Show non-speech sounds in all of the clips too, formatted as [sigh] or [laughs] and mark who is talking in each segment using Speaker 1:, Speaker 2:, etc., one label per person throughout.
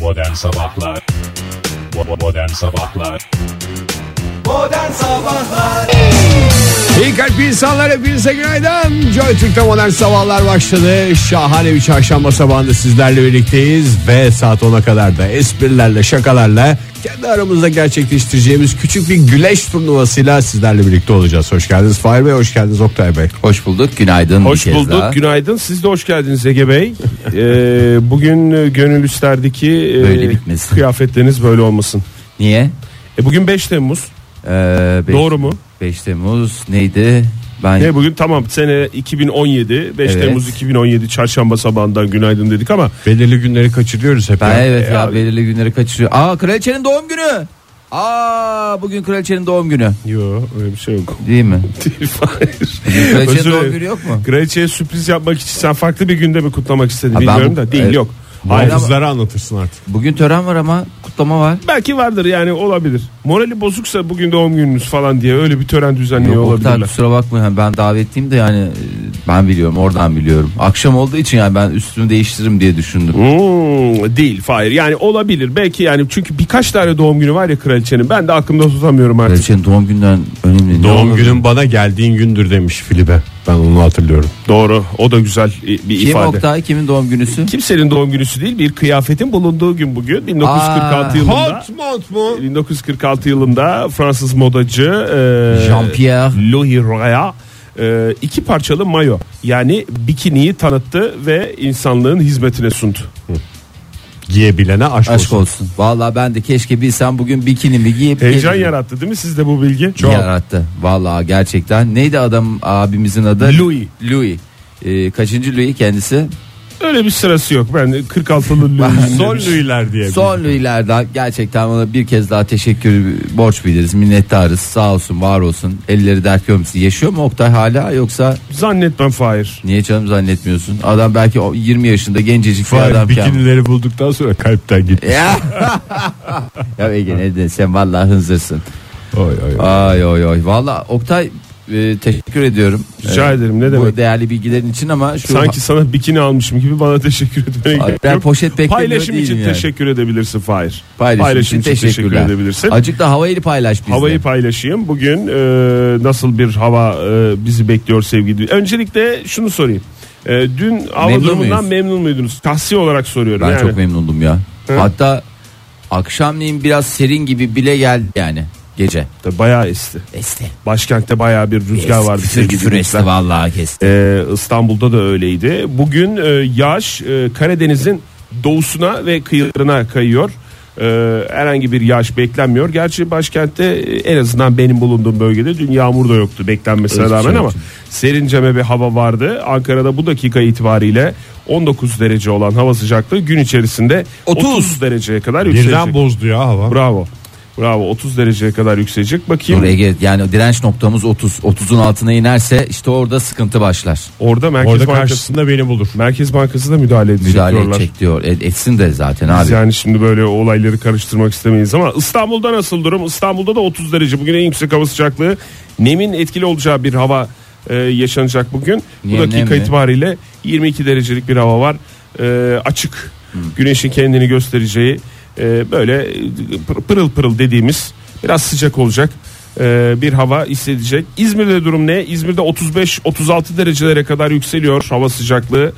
Speaker 1: Modern Sabahlar Bo- Modern Sabahlar
Speaker 2: Modern Sabahlar
Speaker 3: İyi kalp insanlar hepinize günaydın. Joy Türk'te modern sabahlar başladı. Şahane bir çarşamba sabahında sizlerle birlikteyiz. Ve saat 10'a kadar da esprilerle şakalarla kendi aramızda gerçekleştireceğimiz küçük bir güleş turnuvasıyla sizlerle birlikte olacağız. Hoş geldiniz Fahir Bey, hoş geldiniz Oktay Bey.
Speaker 2: Hoş bulduk günaydın
Speaker 4: Hoş bulduk, günaydın. Siz de hoş geldiniz Ege
Speaker 2: [laughs]
Speaker 4: Bey. Ee, bugün e, gönül isterdi ki e,
Speaker 2: Böyle bitmesin.
Speaker 4: kıyafetleriniz böyle olmasın.
Speaker 2: Niye?
Speaker 4: E, bugün 5 Temmuz.
Speaker 2: Ee, beş-
Speaker 4: Doğru mu?
Speaker 2: 5 Temmuz neydi? Ben
Speaker 4: Ne bugün tamam sene 2017. 5
Speaker 2: Evet.
Speaker 4: Temmuz 2017 çarşamba sabahından günaydın dedik ama
Speaker 3: Belirli günleri kaçırıyoruz hep.
Speaker 2: ben
Speaker 3: ya.
Speaker 2: evet
Speaker 4: e,
Speaker 2: ya
Speaker 4: abi.
Speaker 2: belirli günleri kaçırıyor. Aa kraliçenin doğum günü. Aa bugün kraliçenin doğum günü
Speaker 4: yok öyle bir şey yok. [laughs]
Speaker 2: değil mi?
Speaker 4: Hayır.
Speaker 2: Kraliçenin
Speaker 4: Özür
Speaker 2: doğum
Speaker 4: dilerim.
Speaker 2: günü yok mu?
Speaker 4: Kraliçeye sürpriz yapmak için sen farklı bir günde mi kutlamak istedin
Speaker 2: Ha, ben
Speaker 4: bilmiyorum
Speaker 2: bu-
Speaker 4: da değil
Speaker 2: evet.
Speaker 4: yok. Hayır.
Speaker 3: Hafızları anlatırsın artık.
Speaker 2: Bugün tören var ama kutlama var.
Speaker 4: Belki vardır yani olabilir. Morali bozuksa bugün doğum gününüz falan diye öyle bir tören düzenliyor
Speaker 2: Yok Oktay,
Speaker 4: olabilirler.
Speaker 2: kusura bakmayın ben davetliyim de yani e, ben biliyorum oradan biliyorum. Akşam olduğu için yani ben üstümü değiştiririm diye düşündüm.
Speaker 4: Hmm, değil Fahir yani olabilir belki yani çünkü birkaç tane doğum günü var ya kraliçenin ben de aklımda tutamıyorum artık
Speaker 2: Kraliçenin doğum günden önemli. Ne
Speaker 3: Doğum
Speaker 2: olur?
Speaker 3: günün bana geldiğin gündür demiş Filibe. Ben onu hatırlıyorum.
Speaker 4: doğru o da güzel i- bir
Speaker 2: Kim
Speaker 4: ifade
Speaker 2: Oktay kimin doğum günüsü?
Speaker 4: kimsenin doğum günüsü değil bir kıyafetin bulunduğu gün bugün 1946
Speaker 2: Aa.
Speaker 4: yılında
Speaker 3: mu?
Speaker 4: 1946 yılında Fransız modacı
Speaker 2: Jean-Pierre.
Speaker 4: e, Louis Roya e, iki parçalı mayo yani bikiniyi tanıttı ve insanlığın hizmetine sundu
Speaker 3: Giyebilene aşk,
Speaker 2: Aşk
Speaker 3: olsun.
Speaker 2: olsun. Vallahi ben de keşke bilsem bugün bikinimi giyip
Speaker 4: heyecan
Speaker 2: gelirim.
Speaker 4: yarattı değil mi sizde bu bilgi
Speaker 2: yarattı. Vallahi gerçekten. Neydi adam abimizin adı?
Speaker 4: Louis.
Speaker 2: Louis. Ee, kaçıncı Louis kendisi?
Speaker 4: öyle bir sırası yok ben şey 46'lı Louis'im
Speaker 3: Sol
Speaker 4: demiş.
Speaker 3: lüyler diye.
Speaker 2: Son Louis'lerden gerçekten ona bir kez daha teşekkür borç biliriz. Minnettarız. Sağ olsun, var olsun. Elleri dert görmesi. Yaşıyor mu Oktay hala yoksa
Speaker 4: Zannetmem Fahir.
Speaker 2: niye canım zannetmiyorsun? Adam belki o 20 yaşında gencecik bir
Speaker 3: Fahir
Speaker 2: adamken.
Speaker 3: bikinileri bulduktan sonra kalpten gitti.
Speaker 2: [laughs] Ya. ya Ege ne dedin? sen vallahi hınzırsın.
Speaker 3: Oy oy.
Speaker 2: Ay oy oy. Valla Oktay e, teşekkür ediyorum.
Speaker 4: Rica
Speaker 2: E,
Speaker 4: ederim, ne
Speaker 2: Bu
Speaker 4: demek.
Speaker 2: değerli bilgilerin için ama şu
Speaker 4: Sanki sana bikini almışım gibi bana teşekkür etmene
Speaker 2: Ay,
Speaker 4: gerek
Speaker 2: ben
Speaker 4: yok.
Speaker 2: poşet beklemiyor
Speaker 4: Paylaşım
Speaker 2: değilim
Speaker 4: için
Speaker 2: yani.
Speaker 4: teşekkür edebilirsin Fahir.
Speaker 2: paylaşım, için,
Speaker 4: teşekkür
Speaker 2: teşekkürler.
Speaker 4: edebilirsin.
Speaker 2: Acık da havayı paylaş bizle.
Speaker 4: Havayı paylaşayım. Bugün e, nasıl bir hava e, bizi bekliyor sevgili? Öncelikle şunu sorayım. E, dün hava
Speaker 2: Memnun
Speaker 4: durumundan
Speaker 2: muyuz?
Speaker 4: memnun muydunuz? Tahsi olarak soruyorum.
Speaker 2: ben
Speaker 4: yani.
Speaker 2: çok memnundum ya. Hatta akşamleyin biraz serin gibi bile geldi yani gece.
Speaker 4: Tabii Bayağı esti.
Speaker 2: Esti.
Speaker 4: Başkentte bayağı bir rüzgar
Speaker 2: Esti.
Speaker 4: vardı.
Speaker 2: Küfür,
Speaker 4: sevgili
Speaker 2: küfür
Speaker 4: dinleyiciler.
Speaker 2: esti vallahi kesti.
Speaker 4: Ee, İstanbul'da da öyleydi. Bugün e, yağış e, Karadeniz'in doğusuna ve kıyılarına kayıyor. Ee, herhangi bir yağış beklenmiyor. Gerçi başkentte e, en azından benim bulunduğum bölgede dün yağmur da yoktu beklenmesine
Speaker 2: Hiçbir şey
Speaker 4: rağmen ama
Speaker 2: yoktu.
Speaker 4: serinceme bir hava vardı. Ankara'da bu dakika itibariyle 19 derece olan hava sıcaklığı gün içerisinde 30,
Speaker 2: 30
Speaker 4: dereceye kadar
Speaker 3: Birden
Speaker 4: yükselecek.
Speaker 3: bozdu ya hava.
Speaker 4: Bravo. Bravo 30 dereceye kadar yükselecek. Bakayım
Speaker 2: Dur Ege yani direnç noktamız 30. 30'un altına inerse işte orada sıkıntı başlar.
Speaker 4: orada Merkez
Speaker 3: Orada
Speaker 4: Bankası
Speaker 3: karşısında beni bulur.
Speaker 4: Merkez Bankası da müdahale edecek
Speaker 2: Müdahale
Speaker 4: diyorlar.
Speaker 2: edecek diyor. E- etsin de zaten
Speaker 4: Biz
Speaker 2: abi.
Speaker 4: yani şimdi böyle olayları karıştırmak istemeyiz ama İstanbul'da nasıl durum? İstanbul'da da 30 derece. Bugün en yüksek hava sıcaklığı. Nemin etkili olacağı bir hava e, yaşanacak bugün.
Speaker 2: Niye
Speaker 4: Bu dakika
Speaker 2: nem mi?
Speaker 4: itibariyle 22 derecelik bir hava var. E, açık. Güneşin kendini göstereceği e, böyle pır- pırıl pırıl dediğimiz biraz sıcak olacak e, bir hava hissedecek. İzmir'de durum ne? İzmir'de 35-36 derecelere kadar yükseliyor hava sıcaklığı.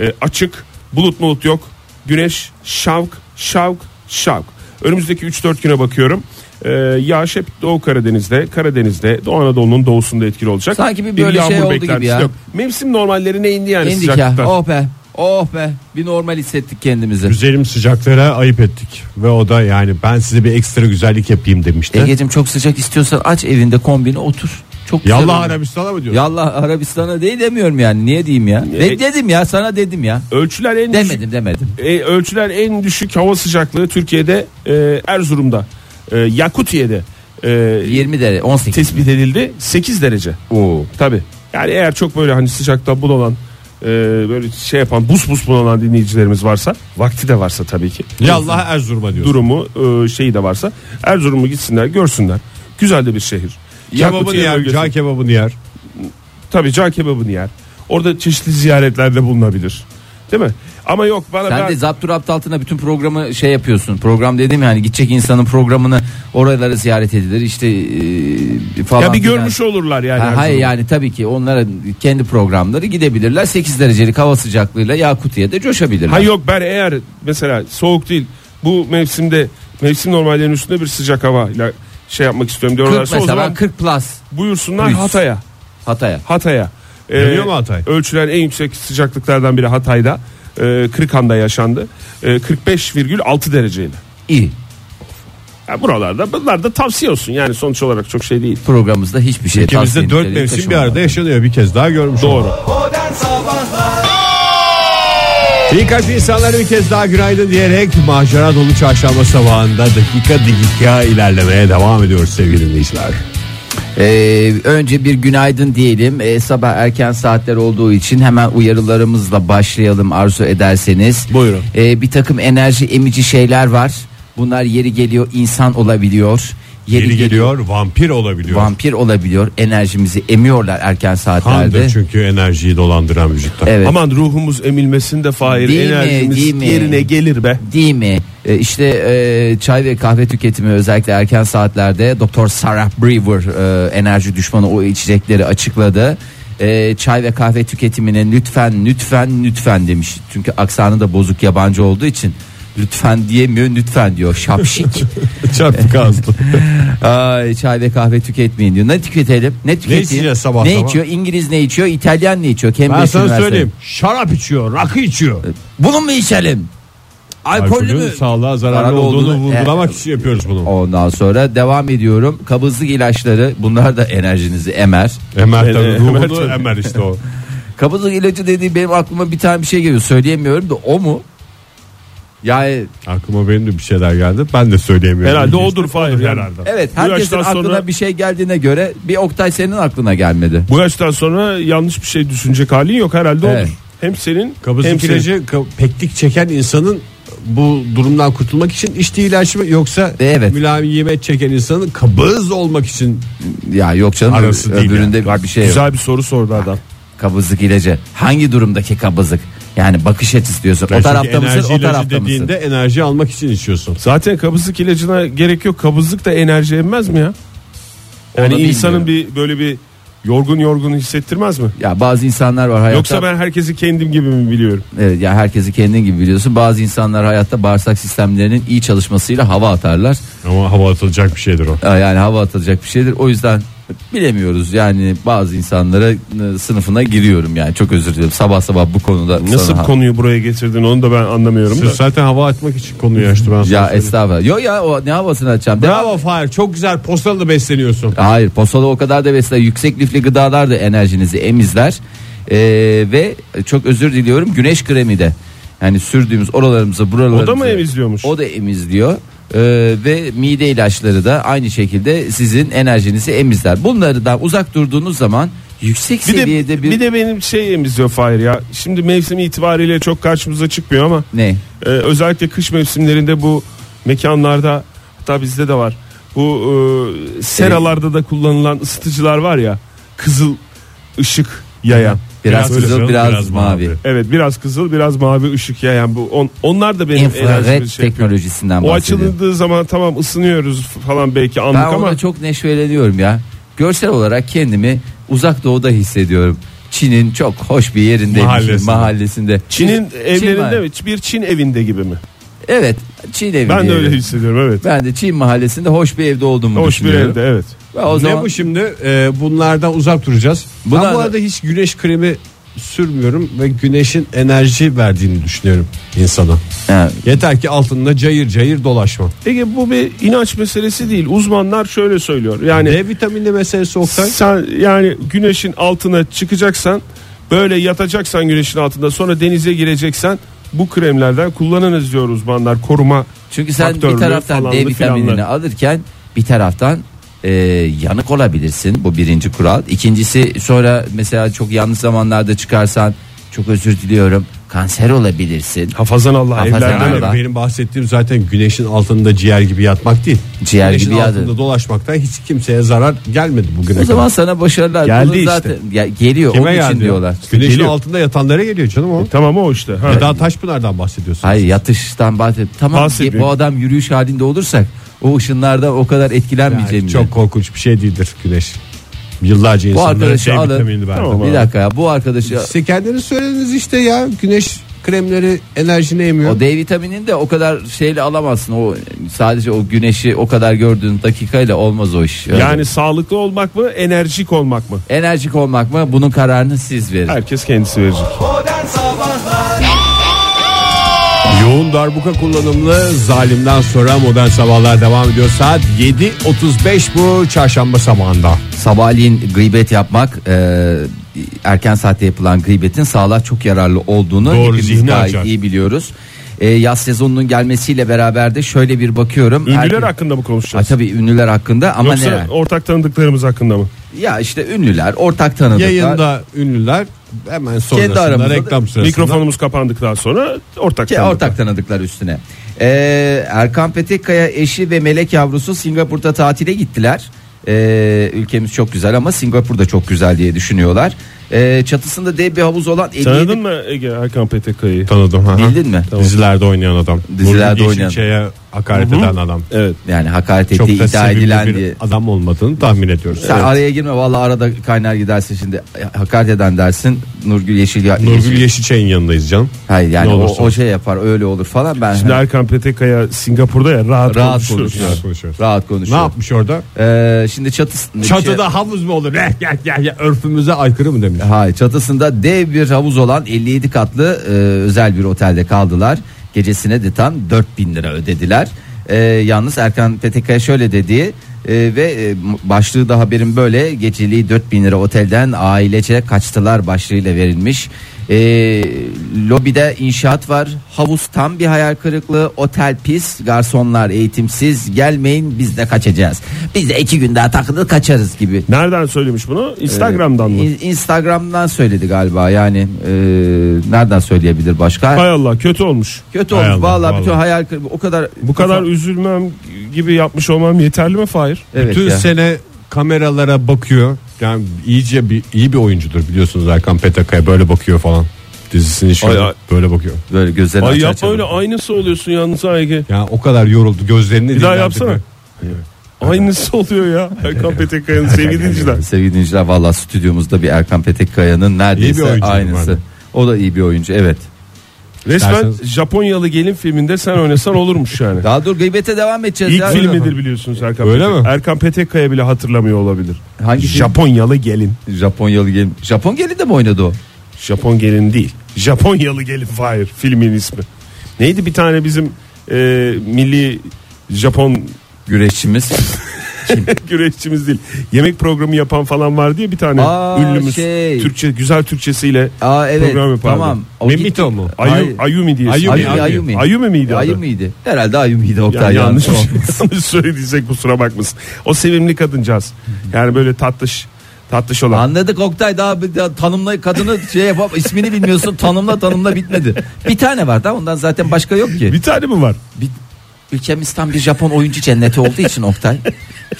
Speaker 4: E, açık. Bulut mulut yok. Güneş şavk şavk şavk. Önümüzdeki 3-4 güne bakıyorum. Ee, yağış hep Doğu Karadeniz'de, Karadeniz'de, Doğu Anadolu'nun doğusunda etkili olacak.
Speaker 2: Sanki bir böyle şey oldu gibi
Speaker 4: beklentisi
Speaker 2: ya.
Speaker 4: Mevsim normallerine indi yani
Speaker 2: İndik ya.
Speaker 4: sıcaklıkta.
Speaker 2: Oh be. Oh be. Bir normal hissettik kendimizi.
Speaker 3: Üzerim sıcaklara ayıp ettik. Ve o da yani ben size bir ekstra güzellik yapayım demişti.
Speaker 2: Ege'cim çok sıcak istiyorsan aç evinde kombine otur. Çok güzel
Speaker 3: Yallah
Speaker 2: olur.
Speaker 3: Arabistan'a mı diyor?
Speaker 2: Yallah Arabistan'a değil demiyorum yani. Niye diyeyim ya?
Speaker 4: E-
Speaker 2: Ne dedim ya sana dedim ya.
Speaker 4: Ölçüler en düşük,
Speaker 2: Demedim demedim.
Speaker 4: e, ölçüler en düşük hava sıcaklığı Türkiye'de e, Erzurum'da, e, Yakutiye'de e,
Speaker 2: 20 derece 18.
Speaker 4: tespit edildi 8 derece.
Speaker 2: Oo.
Speaker 4: Tabi. Yani eğer çok böyle hani sıcakta bunalan e, böyle şey yapan buz buz bunalan dinleyicilerimiz varsa vakti de varsa tabii ki.
Speaker 3: Yallah Erzurum'a diyor.
Speaker 4: durumu e, şeyi de varsa Erzurum'u gitsinler görsünler. Güzel de bir şehir.
Speaker 3: Kebabını
Speaker 4: Yakutiye
Speaker 3: yer,
Speaker 4: bölgesi-
Speaker 3: cağ kebabını yer.
Speaker 4: Tabii cağ kebabını yer. Orada çeşitli ziyaretlerde bulunabilir. Değil mi? Ama yok bana
Speaker 2: Sen
Speaker 4: ben-
Speaker 2: de zapturapt altına bütün programı şey yapıyorsun. Program dedim yani gidecek insanın programını oralara ziyaret edilir. İşte e, falan.
Speaker 4: ya bir
Speaker 2: filan.
Speaker 4: görmüş olurlar yani.
Speaker 2: Ha,
Speaker 4: her
Speaker 2: hayır
Speaker 4: zaman.
Speaker 2: yani tabii ki onlara kendi programları gidebilirler. 8 derecelik hava sıcaklığıyla Yakutiye de coşabilirler.
Speaker 4: Ha yok ben eğer mesela soğuk değil bu mevsimde mevsim normallerinin üstünde bir sıcak hava ile şey yapmak istiyorum
Speaker 2: 40
Speaker 4: diyorlarsa
Speaker 2: mesela
Speaker 4: o zaman
Speaker 2: 40 plus
Speaker 4: buyursunlar
Speaker 2: Plus.
Speaker 4: Hatay'a.
Speaker 2: Hatay'a.
Speaker 4: Hatay'a. Ee,
Speaker 3: Geliyor mu Hatay?
Speaker 4: Ölçülen en yüksek sıcaklıklardan biri Hatay'da. Ee, Kırıkhan'da yaşandı. Ee, 45,6 dereceyle.
Speaker 2: İyi.
Speaker 4: Yani buralarda bunlar da tavsiye olsun yani sonuç olarak çok şey değil.
Speaker 2: Programımızda hiçbir şey
Speaker 3: İkimizde
Speaker 2: tavsiye
Speaker 3: dört
Speaker 2: niteliği
Speaker 3: mevsim bir
Speaker 2: taşımıyor.
Speaker 3: arada yaşanıyor bir kez daha görmüş
Speaker 4: Doğru.
Speaker 3: olduk. İyi kalp insanlara bir kez daha günaydın diyerek macera dolu çarşamba sabahında dakika dakika ilerlemeye devam ediyoruz sevgili dinleyiciler.
Speaker 2: Ee, önce bir günaydın diyelim. Ee, sabah erken saatler olduğu için hemen uyarılarımızla başlayalım arzu ederseniz.
Speaker 3: Buyurun.
Speaker 2: Ee, bir takım enerji emici şeyler var. Bunlar yeri geliyor insan olabiliyor. Yeri,
Speaker 3: Yeri geliyor vampir olabiliyor.
Speaker 2: vampir olabiliyor. Enerjimizi emiyorlar erken saatlerde.
Speaker 3: Kandır çünkü enerjiyi dolandıran vücutta. [laughs]
Speaker 2: Evet.
Speaker 4: Aman ruhumuz emilmesin de Fahir
Speaker 2: Değil mi,
Speaker 4: enerjimiz
Speaker 2: değil mi?
Speaker 4: yerine gelir be.
Speaker 2: Değil mi? Ee, işte e, çay ve kahve tüketimi özellikle erken saatlerde Doktor Sarah Brewer e, enerji düşmanı o içecekleri açıkladı. E, çay ve kahve tüketimine lütfen lütfen lütfen demiş. Çünkü aksanı da bozuk yabancı olduğu için lütfen diyemiyor lütfen
Speaker 3: [laughs]
Speaker 2: diyor şapşik.
Speaker 3: Çarpık ağızlı.
Speaker 2: Ay, çay ve kahve tüketmeyin diyor. Ne tüketelim? Ne tüketeyim?
Speaker 3: içeceğiz sabah
Speaker 2: Ne
Speaker 3: sabah?
Speaker 2: içiyor? İngiliz ne içiyor? İtalyan ne içiyor?
Speaker 3: ben
Speaker 2: Cambridge
Speaker 3: sana
Speaker 2: Üniversitesi.
Speaker 3: söyleyeyim. Şarap içiyor, rakı içiyor.
Speaker 2: Bunu mu içelim? Alkollü
Speaker 3: Alkolün
Speaker 2: mü?
Speaker 3: sağlığa zararlı
Speaker 2: Zararlı
Speaker 3: olduğunu e-
Speaker 2: olduğunu-
Speaker 3: vurgulamak için yapıyoruz bunu.
Speaker 2: Ondan sonra devam ediyorum. Kabızlık ilaçları bunlar da enerjinizi emer.
Speaker 3: Emer tabii
Speaker 4: Emer
Speaker 3: ruhunu
Speaker 4: tabii.
Speaker 3: emer işte [laughs] o.
Speaker 2: Kabızlık ilacı dediği benim aklıma bir tane bir şey geliyor. Söyleyemiyorum da o mu? Yani
Speaker 3: Aklıma benim de bir şeyler geldi. Ben de söyleyemiyorum.
Speaker 4: Herhalde
Speaker 3: İlginç.
Speaker 4: odur Fahir yani.
Speaker 2: evet
Speaker 4: Bu
Speaker 2: herkesin
Speaker 4: yaştan
Speaker 2: aklına
Speaker 4: sonra-
Speaker 2: bir şey geldiğine göre bir Oktay senin aklına gelmedi.
Speaker 4: Bu yaştan sonra yanlış bir şey düşünecek halin yok herhalde
Speaker 2: Evet.
Speaker 4: olur. Hem senin hem
Speaker 3: Kabızlık
Speaker 4: senin.
Speaker 3: ilacı ka- peklik çeken insanın bu durumdan kurtulmak için içtiği ilaç mı yoksa
Speaker 2: Evet.
Speaker 3: mülayimet çeken insanın kabız olmak için
Speaker 2: Ya yok canım
Speaker 3: Arası
Speaker 2: ö-
Speaker 3: değil
Speaker 2: öbüründe bir şey yok.
Speaker 4: Güzel bir soru sordu adam.
Speaker 2: Kabızlık ilacı. Hangi durumdaki kabızlık? Yani bakış açısı diyorsun. o
Speaker 3: Çünkü
Speaker 2: tarafta
Speaker 3: enerji
Speaker 2: mısın? O
Speaker 3: ilacı
Speaker 2: tarafta mısın?
Speaker 3: dediğinde enerji almak için içiyorsun.
Speaker 4: Zaten kabızlık ilacına gerek yok. Kabızlık da enerji emmez mi ya? Yani
Speaker 2: Onu
Speaker 4: insanın bir böyle bir yorgun yorgun hissettirmez mi?
Speaker 2: Ya bazı insanlar var hayatta.
Speaker 4: Yoksa ben herkesi kendim gibi mi biliyorum?
Speaker 2: Evet, ya herkesi kendin gibi biliyorsun. Bazı insanlar hayatta bağırsak sistemlerinin iyi çalışmasıyla hava atarlar.
Speaker 3: Ama hava atılacak bir şeydir o.
Speaker 2: Ee, Yani hava atılacak bir şeydir. O yüzden bilemiyoruz. Yani bazı insanlara e, sınıfına giriyorum yani. Çok özür dilerim. Sabah sabah bu konuda
Speaker 4: Nasıl
Speaker 2: sana-
Speaker 4: konuyu buraya getirdin onu da ben anlamıyorum.
Speaker 3: Siz
Speaker 4: Da.
Speaker 3: zaten hava atmak için konuyu açtı ben sana
Speaker 2: Ya
Speaker 3: söyleyeyim.
Speaker 2: estağfurullah. Yo ya o ne havasını açacağım. Devam-
Speaker 3: Bravo Fahir çok güzel postalı besleniyorsun.
Speaker 2: Hayır posada o kadar da besler. Yüksek lifli gıdalar da enerjinizi emizler. Ee, ve çok özür diliyorum güneş kremi de. Yani sürdüğümüz oralarımızı buralarımızı.
Speaker 4: O da mı emizliyormuş?
Speaker 2: O da emizliyor. Ee, ve mide ilaçları da aynı şekilde sizin enerjinizi emizler. Bunları da uzak durduğunuz zaman yüksek
Speaker 4: Bir de,
Speaker 2: seviyede
Speaker 4: bir...
Speaker 2: bir,
Speaker 4: de benim şey emziyor Fahir ya. Şimdi mevsim itibariyle çok karşımıza çıkmıyor ama
Speaker 2: ne?
Speaker 4: e, özellikle kış mevsimlerinde bu mekanlarda hatta bizde de var. Bu e, seralarda da kullanılan ısıtıcılar var ya. Kızıl ışık yayan.
Speaker 2: Biraz,
Speaker 3: Biraz
Speaker 2: kızıl,
Speaker 3: kızıl,
Speaker 2: biraz,
Speaker 3: biraz
Speaker 2: mavi.
Speaker 3: mavi.
Speaker 4: Evet biraz kızıl biraz mavi ışık yayan bu on, onlar da benim
Speaker 2: İnfrared
Speaker 4: enerjimi şey yapıyor.
Speaker 2: teknolojisinden
Speaker 4: O
Speaker 2: bahsediyorum.
Speaker 4: açıldığı zaman tamam ısınıyoruz falan belki anlık
Speaker 2: Ben
Speaker 4: ama
Speaker 2: ona çok neşveleniyorum ya. Görsel olarak kendimi uzak doğuda hissediyorum. Çin'in çok hoş bir yerindeymişim
Speaker 3: Mahallesinde.
Speaker 2: mahallesinde.
Speaker 4: Çin'in
Speaker 2: Çin
Speaker 4: evlerinde
Speaker 2: mahalle-
Speaker 4: mi? Bir Çin evinde gibi mi?
Speaker 2: Evet Çin evi
Speaker 4: Ben de
Speaker 2: diyelim.
Speaker 4: öyle hissediyorum evet.
Speaker 2: Ben de Çin mahallesinde hoş bir evde olduğumu
Speaker 4: Hoş bir
Speaker 2: düşünüyorum.
Speaker 4: evde evet.
Speaker 2: Ve O
Speaker 3: ne
Speaker 2: zaman
Speaker 3: bu şimdi? Ee, bunlardan uzak duracağız.
Speaker 2: Bunlar-
Speaker 3: ben bu arada hiç güneş kremi sürmüyorum ve güneşin enerji verdiğini düşünüyorum insana.
Speaker 2: Ha,
Speaker 3: Yeter ki altında cayır cayır dolaşma.
Speaker 4: Peki bu bir inanç meselesi değil. Uzmanlar şöyle söylüyor. Yani
Speaker 3: D vitamini Hani meselesi Oktay.
Speaker 4: sen yani güneşin altına çıkacaksan böyle yatacaksan güneşin altında sonra denize gireceksen bu kremlerden kullanınız diyor uzmanlar koruma
Speaker 2: çünkü sen bir
Speaker 4: faktörlü
Speaker 2: taraftan D
Speaker 4: falanlı
Speaker 2: vitaminini
Speaker 4: filanlı.
Speaker 2: alırken bir taraftan e, yanık olabilirsin. Bu birinci kural. İkincisi sonra mesela çok yanlış zamanlarda çıkarsan çok özür diliyorum. Kanser olabilirsin.
Speaker 4: Hafazan Allah
Speaker 2: Hafazan
Speaker 4: evlerden
Speaker 2: Allah.
Speaker 4: ara.
Speaker 3: Benim bahsettiğim zaten güneşin altında ciğer gibi yatmak değil.
Speaker 2: Ciğer
Speaker 3: güneşin
Speaker 2: gibi
Speaker 3: altında
Speaker 2: yatın.
Speaker 3: dolaşmaktan hiç kimselere zarar gelmedi bugüne
Speaker 2: O zaman
Speaker 3: kadar.
Speaker 2: sana başarılar.
Speaker 4: Geldi
Speaker 2: Bunu
Speaker 4: işte.
Speaker 2: zaten ya, geliyor
Speaker 3: Kime
Speaker 2: onun
Speaker 3: geldi
Speaker 2: için
Speaker 3: ya?
Speaker 2: diyorlar.
Speaker 3: Güneşin
Speaker 4: Geliyor.
Speaker 3: altında yatanlara geliyor canım o.
Speaker 4: Tamam o işte. Ha.
Speaker 3: Eda Taşpınar'dan bahsediyorsun.
Speaker 2: Hayır yatıştan bahset. Tamam
Speaker 4: Bahsediyor.
Speaker 2: bu adam yürüyüş halinde olursak o ışınlarda o kadar etkilenmeyeceğim.
Speaker 3: Yani
Speaker 2: diyor.
Speaker 3: çok korkunç bir şey değildir güneş. Yıllarca
Speaker 2: bu
Speaker 3: insanlara
Speaker 2: arkadaşı
Speaker 3: şey
Speaker 2: alın.
Speaker 3: vitaminini verdi.
Speaker 4: Tamam.
Speaker 2: Bir dakika ya bu arkadaşı
Speaker 3: Size kendiniz söylediniz işte ya güneş kremleri enerjini emiyor.
Speaker 2: o D vitaminini de o kadar şeyle alamazsın. O sadece o güneşi o kadar gördüğün dakikayla olmaz o iş. Öyle.
Speaker 4: Yani sağlıklı olmak mı enerjik olmak mı?
Speaker 2: enerjik olmak mı bunun kararını siz verin.
Speaker 4: Herkes kendisi verecek.
Speaker 3: Yoğun darbuka kullanımlı zalimden sonra modern sabahlar devam ediyor. Saat 7.35 bu çarşamba sabahında.
Speaker 2: Sabahleyin gıybet yapmak e, erken saatte yapılan gıybetin sağlığa çok yararlı olduğunu
Speaker 3: Doğru,
Speaker 2: hepimiz
Speaker 3: zihni
Speaker 2: gayet
Speaker 3: açar.
Speaker 2: iyi biliyoruz. E, yaz sezonunun gelmesiyle beraber de şöyle bir bakıyorum.
Speaker 4: Ünlüler
Speaker 2: Herkes-
Speaker 4: hakkında mı
Speaker 2: Ha,
Speaker 4: konuşacağız?
Speaker 2: tabii ünlüler hakkında ama
Speaker 4: Yoksa
Speaker 2: neler?
Speaker 4: ortak tanıdıklarımız hakkında mı?
Speaker 2: Ya işte ünlüler, ortak tanıdıklar.
Speaker 3: Yayında ünlüler hemen
Speaker 2: aramızda
Speaker 3: sonrasında reklam sırasında.
Speaker 4: Mikrofonumuz kapandıktan sonra ortak
Speaker 2: Ki
Speaker 4: tanıdıklar.
Speaker 2: Şey, ortak tanıdıklar üstüne. Ee, Erkan Petekkaya eşi ve melek yavrusu Singapur'da tatile gittiler. Ee, ülkemiz çok güzel ama Singapur da çok güzel diye düşünüyorlar. Ee, çatısında dev bir havuz olan 57
Speaker 4: Tanıdın mı Ege Erkan Petekkaya'yı?
Speaker 3: Tanıdım. ha.
Speaker 2: Bildin mi?
Speaker 3: Dizilerde oynayan adam.
Speaker 2: Dizilerde
Speaker 3: Nurgül
Speaker 2: oynayan.
Speaker 3: Yeşilçay'a hakaret eden adam.
Speaker 4: Evet.
Speaker 2: Yani hakaret
Speaker 3: Çok
Speaker 2: ettiği
Speaker 3: da
Speaker 2: iddia
Speaker 3: sevimli
Speaker 2: edilen
Speaker 3: bir
Speaker 2: diye.
Speaker 3: adam olmadığını tahmin ediyoruz.
Speaker 2: Sen araya girme valla arada kaynar gidersin şimdi hakaret eden dersin Nurgül Yeşil,
Speaker 3: Nurgül Yeşilçay'ın yanındayız canım.
Speaker 2: Hayır yani
Speaker 3: Ne
Speaker 2: o,
Speaker 3: olursa
Speaker 2: o şey yapar öyle olur falan ben
Speaker 4: Şimdi Erkan Petekkaya Singapur'da ya rahat,
Speaker 2: Rahat
Speaker 4: rahat
Speaker 2: konuşuyor.
Speaker 4: konuşuyor.
Speaker 3: konuşuyoruz.
Speaker 2: rahat
Speaker 3: Ne
Speaker 2: konuşuyor.
Speaker 3: yapmış orada?
Speaker 2: Ee, şimdi çatısı
Speaker 3: Çatıda havuz mu olur? Eh, ya, ya, ya, örfümüze aykırı mı demiş?
Speaker 2: Hayır çatısında dev bir havuz olan 57 katlı e, özel bir otelde kaldılar. Gecesine de tam 4000 lira ödediler. E, yalnız Erkan Petekkaya şöyle dedi e, ve e, m- başlığı da haberin böyle geceliği 4000 lira otelden ailece kaçtılar başlığıyla verilmiş. E, lobide inşaat var havuz tam bir hayal kırıklığı otel pis garsonlar eğitimsiz gelmeyin biz de kaçacağız. Biz de iki gün daha takılır kaçarız gibi.
Speaker 4: Nereden söylemiş bunu?
Speaker 2: Ee,
Speaker 4: Instagram'dan mı?
Speaker 2: İn- Instagram'dan söyledi galiba yani e, nereden söyleyebilir başka?
Speaker 4: Hay Allah kötü olmuş.
Speaker 2: Kötü
Speaker 3: Hay
Speaker 2: olmuş
Speaker 3: Allah,
Speaker 2: vallahi bütün
Speaker 3: vallahi.
Speaker 2: hayal kırıklığı o kadar
Speaker 4: Bu kadar üzülmem gibi yapmış olmam yeterli mi Fahir?
Speaker 2: evet
Speaker 3: Bütün
Speaker 2: ya.
Speaker 3: sene kameralara bakıyor. Yani iyice bir iyi bir oyuncudur biliyorsunuz Erkan Petakaya böyle bakıyor falan. Dizisini şöyle
Speaker 4: Ay, ay.
Speaker 3: böyle bakıyor.
Speaker 2: böyle gözlerini
Speaker 4: Ay
Speaker 2: açar
Speaker 4: yapma
Speaker 2: açar.
Speaker 4: öyle aynısı oluyorsun yalnız ha Ege.
Speaker 3: Yani o kadar yoruldu gözlerini
Speaker 4: Bir daha
Speaker 3: dinlendirdi.
Speaker 4: yapsana. Aynısı oluyor ya. Erkan Petekkaya'nın sevgili dinleyiciler.
Speaker 2: Sevgili dinleyiciler valla stüdyomuzda bir Erkan Petekkaya'nın
Speaker 3: İyi bir
Speaker 2: neredeyse
Speaker 3: oyuncu
Speaker 2: aynısı.
Speaker 3: normalde.
Speaker 2: O da iyi bir oyuncu evet.
Speaker 4: Resmen
Speaker 3: Derseniz-
Speaker 4: Japonyalı gelin filminde sen oynasan olurmuş yani.
Speaker 2: Daha dur gıybete devam edeceğiz.
Speaker 4: İlk
Speaker 2: ya.
Speaker 4: filmidir biliyorsunuz Erkan
Speaker 3: Öyle
Speaker 4: Petek-
Speaker 3: mi?
Speaker 4: Erkan Petekkaya bile hatırlamıyor olabilir.
Speaker 2: Hangi film?
Speaker 4: Japonyalı gelin.
Speaker 2: Japonyalı gelin. Japon gelin de mi oynadı o?
Speaker 4: Japon gelin değil. Japonyalı gelin Fahir filmin ismi. Neydi bir tane bizim e, milli Japon [laughs]
Speaker 2: Güreşçimiz.
Speaker 4: güreşçimiz değil. Yemek programı yapan falan var diye bir tane
Speaker 2: Aa,
Speaker 4: ünlümüz.
Speaker 2: şey.
Speaker 4: Türkçe güzel Türkçesiyle
Speaker 2: Aa evet
Speaker 4: program yapardı.
Speaker 2: tamam. O gitti.
Speaker 3: Memito mu?
Speaker 4: Ayu,
Speaker 2: Hayır.
Speaker 4: Ayumi diye.
Speaker 3: Ayumi,
Speaker 4: söylüyor.
Speaker 2: Ayumi,
Speaker 3: Ayumi.
Speaker 2: Ayumi.
Speaker 4: Ayumi miydi adı?
Speaker 2: Ayumi'ydi. Herhalde Ayumi'ydi
Speaker 4: Yani
Speaker 2: Oktay.
Speaker 4: yanlış,
Speaker 2: O-
Speaker 4: [laughs] yanlış söylediysek kusura bakmasın. O sevimli kadıncağız. Yani böyle tatlış tatlış olan.
Speaker 2: Anladık Oktay daha, bir- daha tanımla kadını şey yapıp ismini bilmiyorsun tanımla tanımla bitmedi. Bir tane var da ondan zaten başka yok ki.
Speaker 4: bir tane mi var?
Speaker 2: Bir- ülkemiz tam bir Japon oyuncu cenneti olduğu için Oktay.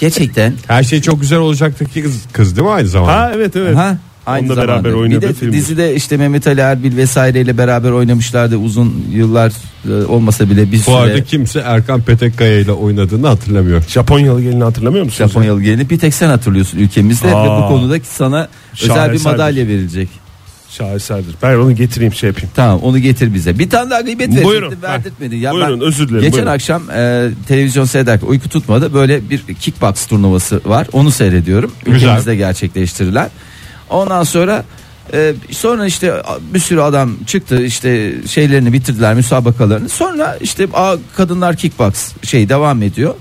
Speaker 2: Gerçekten.
Speaker 3: Her şey çok güzel olacaktaki kız, kız değil mi aynı zamanda?
Speaker 4: Ha evet evet.
Speaker 2: Ha? Aynı
Speaker 4: Onunla
Speaker 2: zamanda.
Speaker 4: beraber
Speaker 2: bir
Speaker 4: oynadığı
Speaker 2: de
Speaker 4: film.
Speaker 2: dizide işte Mehmet Ali Erbil vesaireyle beraber oynamışlardı uzun yıllar e, olmasa bile bir
Speaker 3: Bu arada
Speaker 2: süre
Speaker 3: kimse Erkan Petekkaya ile oynadığını hatırlamıyor.
Speaker 4: Japonyalı gelini hatırlamıyor musun?
Speaker 2: Japonyalı geleni bir tek sen hatırlıyorsun ülkemizde ve
Speaker 4: Aa. şey.
Speaker 2: bu konuda sana özel bir
Speaker 4: Şaheserdir.
Speaker 2: madalya verilecek.
Speaker 4: Şaheserdir. Ben onu getireyim şey yapayım.
Speaker 2: Tamam onu getir bize. Bir tane daha gıybet verecektim,
Speaker 4: Buyurun.
Speaker 2: verdirtmedin. Ya
Speaker 4: Buyurun,
Speaker 2: ben
Speaker 4: özür dilerim,
Speaker 2: Geçen
Speaker 4: buyurun.
Speaker 2: akşam e, televizyon seyrederken uyku tutmadı. Böyle bir kickbox turnuvası var. Onu seyrediyorum.
Speaker 3: Güzel.
Speaker 2: Ülkemizde gerçekleştirilen. Ondan sonra e, sonra işte a- bir sürü adam çıktı işte şeylerini bitirdiler müsabakalarını. Sonra işte a, kadınlar kickbox şey devam ediyor.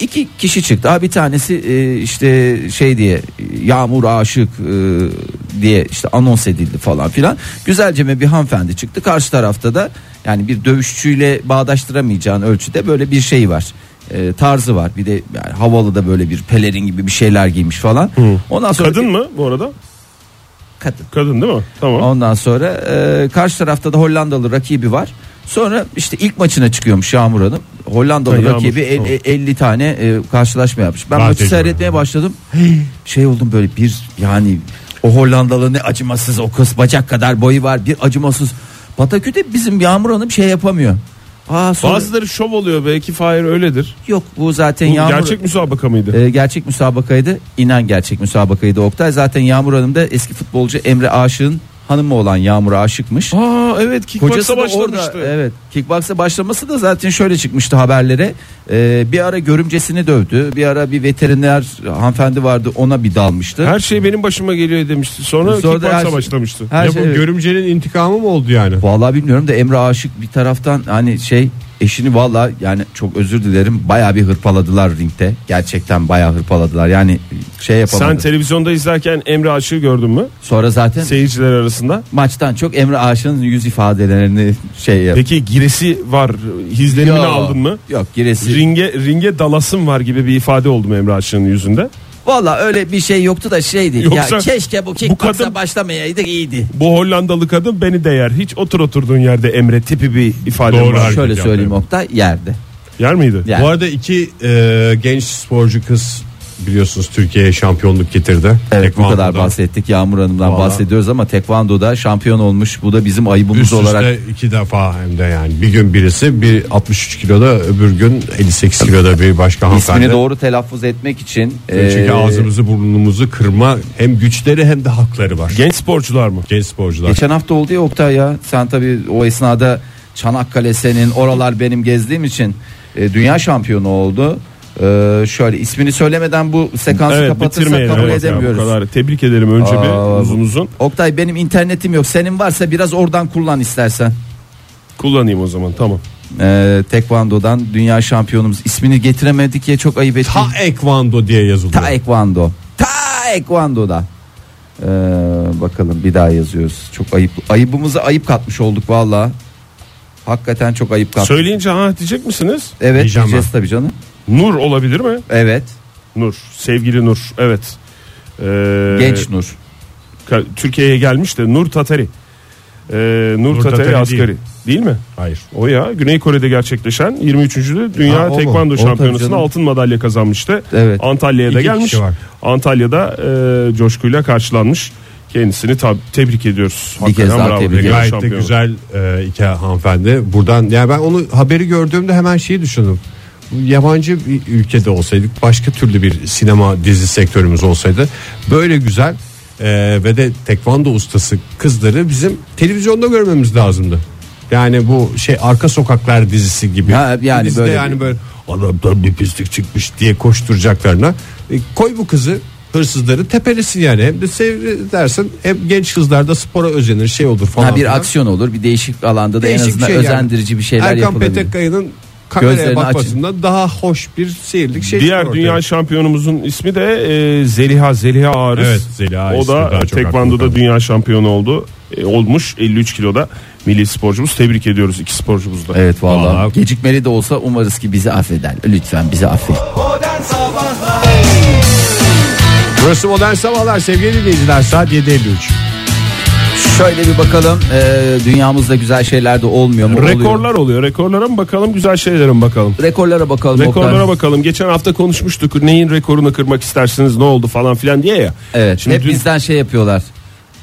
Speaker 2: İki kişi çıktı. Ha bir tanesi e, işte şey diye Yağmur Aşık e, diye işte anons edildi falan filan. Güzelce mi bir hanımefendi çıktı. Karşı tarafta da yani bir dövüşçüyle bağdaştıramayacağın ölçüde böyle bir şey var. E, tarzı var. Bir de yani havalı da böyle bir pelerin gibi bir şeyler giymiş falan. Ondan sonra
Speaker 4: Kadın mı bu arada?
Speaker 2: kadın.
Speaker 4: Kadın değil mi? Tamam.
Speaker 2: Ondan sonra e, karşı tarafta da Hollandalı rakibi var. Sonra işte ilk maçına çıkıyormuş Yağmur Hanım. Hollandalı
Speaker 4: Ha, Yağmur,
Speaker 2: rakibi el-
Speaker 4: tamam.
Speaker 2: e, 50 tane e, karşılaşma yapmış. Ben
Speaker 3: Rahat
Speaker 2: maçı
Speaker 3: ediyorum.
Speaker 2: seyretmeye başladım. [gasps] Şey oldum böyle bir yani o Hollandalı ne acımasız o kız bacak kadar boyu var bir acımasız. Pataküte bizim Yağmur Hanım şey yapamıyor. Aa, sonra,
Speaker 4: Bazıları şov oluyor belki Fahir öyledir.
Speaker 2: Yok bu zaten
Speaker 4: Bu
Speaker 2: Yağmur
Speaker 4: gerçek müsabaka mıydı?
Speaker 2: e, gerçek müsabakaydı. İnan gerçek müsabakaydı Oktay. Zaten Yağmur Hanım da eski futbolcu Emre Aşık'ın hanımı olan Yağmur Aşık'mış.
Speaker 4: Aa evet kickbox'a
Speaker 2: Kocası da
Speaker 4: başlamıştı.
Speaker 2: orada evet kickbox'a başlaması da zaten şöyle çıkmıştı haberlere. Ee, bir ara görümcesini dövdü. Bir ara bir veteriner hanımefendi vardı ona bir dalmıştı.
Speaker 4: Her şey benim başıma geliyor demişti. Sonra,
Speaker 2: Sonra da
Speaker 4: kickbox'a
Speaker 2: her-
Speaker 4: başlamıştı.
Speaker 2: Her
Speaker 3: ya
Speaker 2: şey-
Speaker 3: bu görümcenin intikamı mı oldu yani?
Speaker 2: Vallahi bilmiyorum da Emre Aşık bir taraftan hani şey eşini valla yani çok özür dilerim baya bir hırpaladılar ringde. Gerçekten baya hırpaladılar. Yani şey yapamadı.
Speaker 4: Sen televizyonda izlerken Emre Aşık'ı gördün mü?
Speaker 2: Sonra zaten
Speaker 4: Seyirciler arasında.
Speaker 2: maçtan çok Emre Aşık'ın yüz ifadelerini şey yap.
Speaker 4: Peki giresi var. Hizlenimini
Speaker 2: Yok.
Speaker 4: aldın mı?
Speaker 2: Yok giresi.
Speaker 4: Ringe ringe dalasım var gibi bir ifade oldu mu Emre Aşık'ın yüzünde?
Speaker 2: Valla öyle bir şey yoktu da şeydi.
Speaker 4: Yoksa
Speaker 2: ya keşke bu
Speaker 4: bu
Speaker 2: kickbox'a
Speaker 4: kadın-
Speaker 2: başlamayaydık iyiydi.
Speaker 4: Bu Hollandalı kadın beni değer. Hiç otur oturduğun yerde Emre tipi bir ifade
Speaker 3: Doğru.
Speaker 4: var.
Speaker 2: Şöyle
Speaker 3: hareket
Speaker 2: söyleyeyim
Speaker 3: yapıyorum.
Speaker 2: Oktay yerde.
Speaker 4: Yer miydi?
Speaker 2: Yani.
Speaker 3: Bu arada iki e, genç sporcu kız biliyorsunuz Türkiye'ye şampiyonluk getirdi.
Speaker 2: Evet bu kadar
Speaker 3: Tekvando'da.
Speaker 2: bahsettik Yağmur Hanım'dan
Speaker 3: Vallahi.
Speaker 2: bahsediyoruz ama tekvandoda şampiyon olmuş. Bu da bizim ayıbımız
Speaker 3: Üst üste
Speaker 2: olarak.
Speaker 3: iki defa hem de yani bir gün birisi bir 63 kiloda öbür gün 58 kiloda bir başka hanımefendi. E,
Speaker 2: İsmini doğru e, telaffuz etmek için.
Speaker 3: Çünkü
Speaker 2: eee,
Speaker 3: ağzımızı burnumuzu kırma hem güçleri hem de hakları var.
Speaker 4: Genç sporcular mı?
Speaker 3: Genç sporcular.
Speaker 2: Geçen hafta oldu ya Oktay ya. Sen tabii o esnada Çanakkale senin oralar benim gezdiğim için e, dünya şampiyonu oldu. Eee, şöyle ismini söylemeden bu sekansı
Speaker 4: Evet
Speaker 2: kapatırsak
Speaker 4: bitirmeyelim.
Speaker 2: kabul
Speaker 4: Evet, ya, bu
Speaker 2: edemiyoruz.
Speaker 4: kadar. Tebrik edelim önce
Speaker 2: Aa,
Speaker 4: bir uzun uzun.
Speaker 2: Oktay benim internetim yok. Senin varsa biraz oradan kullan istersen.
Speaker 4: Kullanayım o zaman tamam.
Speaker 2: Eee tekvando'dan dünya şampiyonumuz ismini getiremedik ya çok ayıp ettik.
Speaker 3: Taekwondo diye yazılıyor.
Speaker 2: Taekwondo. Taekwondo'da. Ee, bakalım bir daha yazıyoruz. Çok ayıp. Ayıbımıza ayıp katmış olduk valla. Hakikaten çok ayıp katmış.
Speaker 4: Söyleyince ha diyecek misiniz?
Speaker 2: evet
Speaker 3: Diyeceğim
Speaker 2: diyeceğiz tabii canım.
Speaker 4: Nur olabilir mi?
Speaker 2: Evet.
Speaker 4: Nur. Sevgili Nur. Evet. Ee,
Speaker 2: Genç Nur.
Speaker 4: ka- Türkiye'ye gelmiş de Nur Tatari. Ee, Nur,
Speaker 3: Nur
Speaker 4: Tatari,
Speaker 3: Tatari
Speaker 4: Asgari. Değil.
Speaker 3: değil.
Speaker 4: mi?
Speaker 3: Hayır.
Speaker 4: O ya. Güney Kore'de gerçekleşen 23. de
Speaker 3: Ha,
Speaker 4: Dünya
Speaker 3: o mu?
Speaker 4: Tekvando
Speaker 2: O tabii
Speaker 4: Şampiyonası'nda
Speaker 2: canım.
Speaker 4: altın madalya kazanmıştı.
Speaker 2: Evet.
Speaker 4: Antalya'ya da
Speaker 3: İki
Speaker 4: gelmiş.
Speaker 3: kişi var.
Speaker 4: Antalya'da e, coşkuyla karşılanmış. Kendisini tab- tebrik ediyoruz.
Speaker 2: Bir kez
Speaker 4: Hakikaten
Speaker 2: daha
Speaker 4: bravo.
Speaker 2: tebrik
Speaker 4: Dünya
Speaker 2: ediyoruz.
Speaker 3: Gayet de
Speaker 4: şampiyonu.
Speaker 3: güzel e, iki hanımefendi. Buradan ya ben onu haberi gördüğümde hemen şeyi düşündüm. Bu Yabancı bir ülkede olsaydık başka türlü bir sinema dizi sektörümüz olsaydı böyle güzel e, ve de tekvando ustası kızları bizim televizyonda görmemiz lazımdı. Yani bu şey arka sokaklar dizisi gibi.
Speaker 2: Ha, yani
Speaker 3: Bizde
Speaker 2: böyle bir-
Speaker 3: yani böyle adamdan bir pislik çıkmış diye koşturacaklarına E, koy bu kızı hırsızları tepelesin yani hem de seyredersin hem genç kızlar da spora özenir şey olur falan.
Speaker 2: Ha, bir
Speaker 3: filan.
Speaker 2: aksiyon olur. Bir değişik alanda da
Speaker 3: Değişik
Speaker 2: en azından
Speaker 3: şey yani.
Speaker 2: özendirici bir şeyler
Speaker 3: Erkan
Speaker 2: yapılabilir.
Speaker 3: Petekkaya'nın kameraya
Speaker 2: Gözlerini açın.
Speaker 3: bakmasından daha hoş bir seyirlik şey.
Speaker 4: Diğer
Speaker 3: çıkıyor
Speaker 4: dünya
Speaker 3: ortaya.
Speaker 4: şampiyonumuzun ismi de e, Zeliha Zeliha Ağrıs.
Speaker 3: Evet, Zeliha
Speaker 4: O
Speaker 3: ismi
Speaker 4: da
Speaker 3: daha çok aklımda
Speaker 4: tekvandoda
Speaker 3: kaldı.
Speaker 4: dünya şampiyonu oldu. E, olmuş 53 kiloda milli sporcumuz. Tebrik ediyoruz iki sporcumuzu da.
Speaker 2: Evet valla.
Speaker 3: Vallahi-
Speaker 2: Gecikmeli de olsa umarız ki bizi affeder. Lütfen bizi affet.
Speaker 3: Burası modern sabahlar sevgili dinleyiciler saat 7.53.
Speaker 2: Şöyle bir bakalım. e, dünyamızda güzel şeyler de olmuyor mu? Oluyor.
Speaker 4: Rekorlar oluyor. Rekorlara mı bakalım güzel şeylere mi bakalım?
Speaker 2: Rekorlara bakalım. Oktay.
Speaker 4: Rekorlara bakalım. Geçen hafta konuşmuştuk. Neyin rekorunu kırmak istersiniz? Ne oldu falan filan diye ya.
Speaker 2: Evet.
Speaker 4: Şimdi
Speaker 2: hep
Speaker 4: dün
Speaker 2: bizden şey yapıyorlar.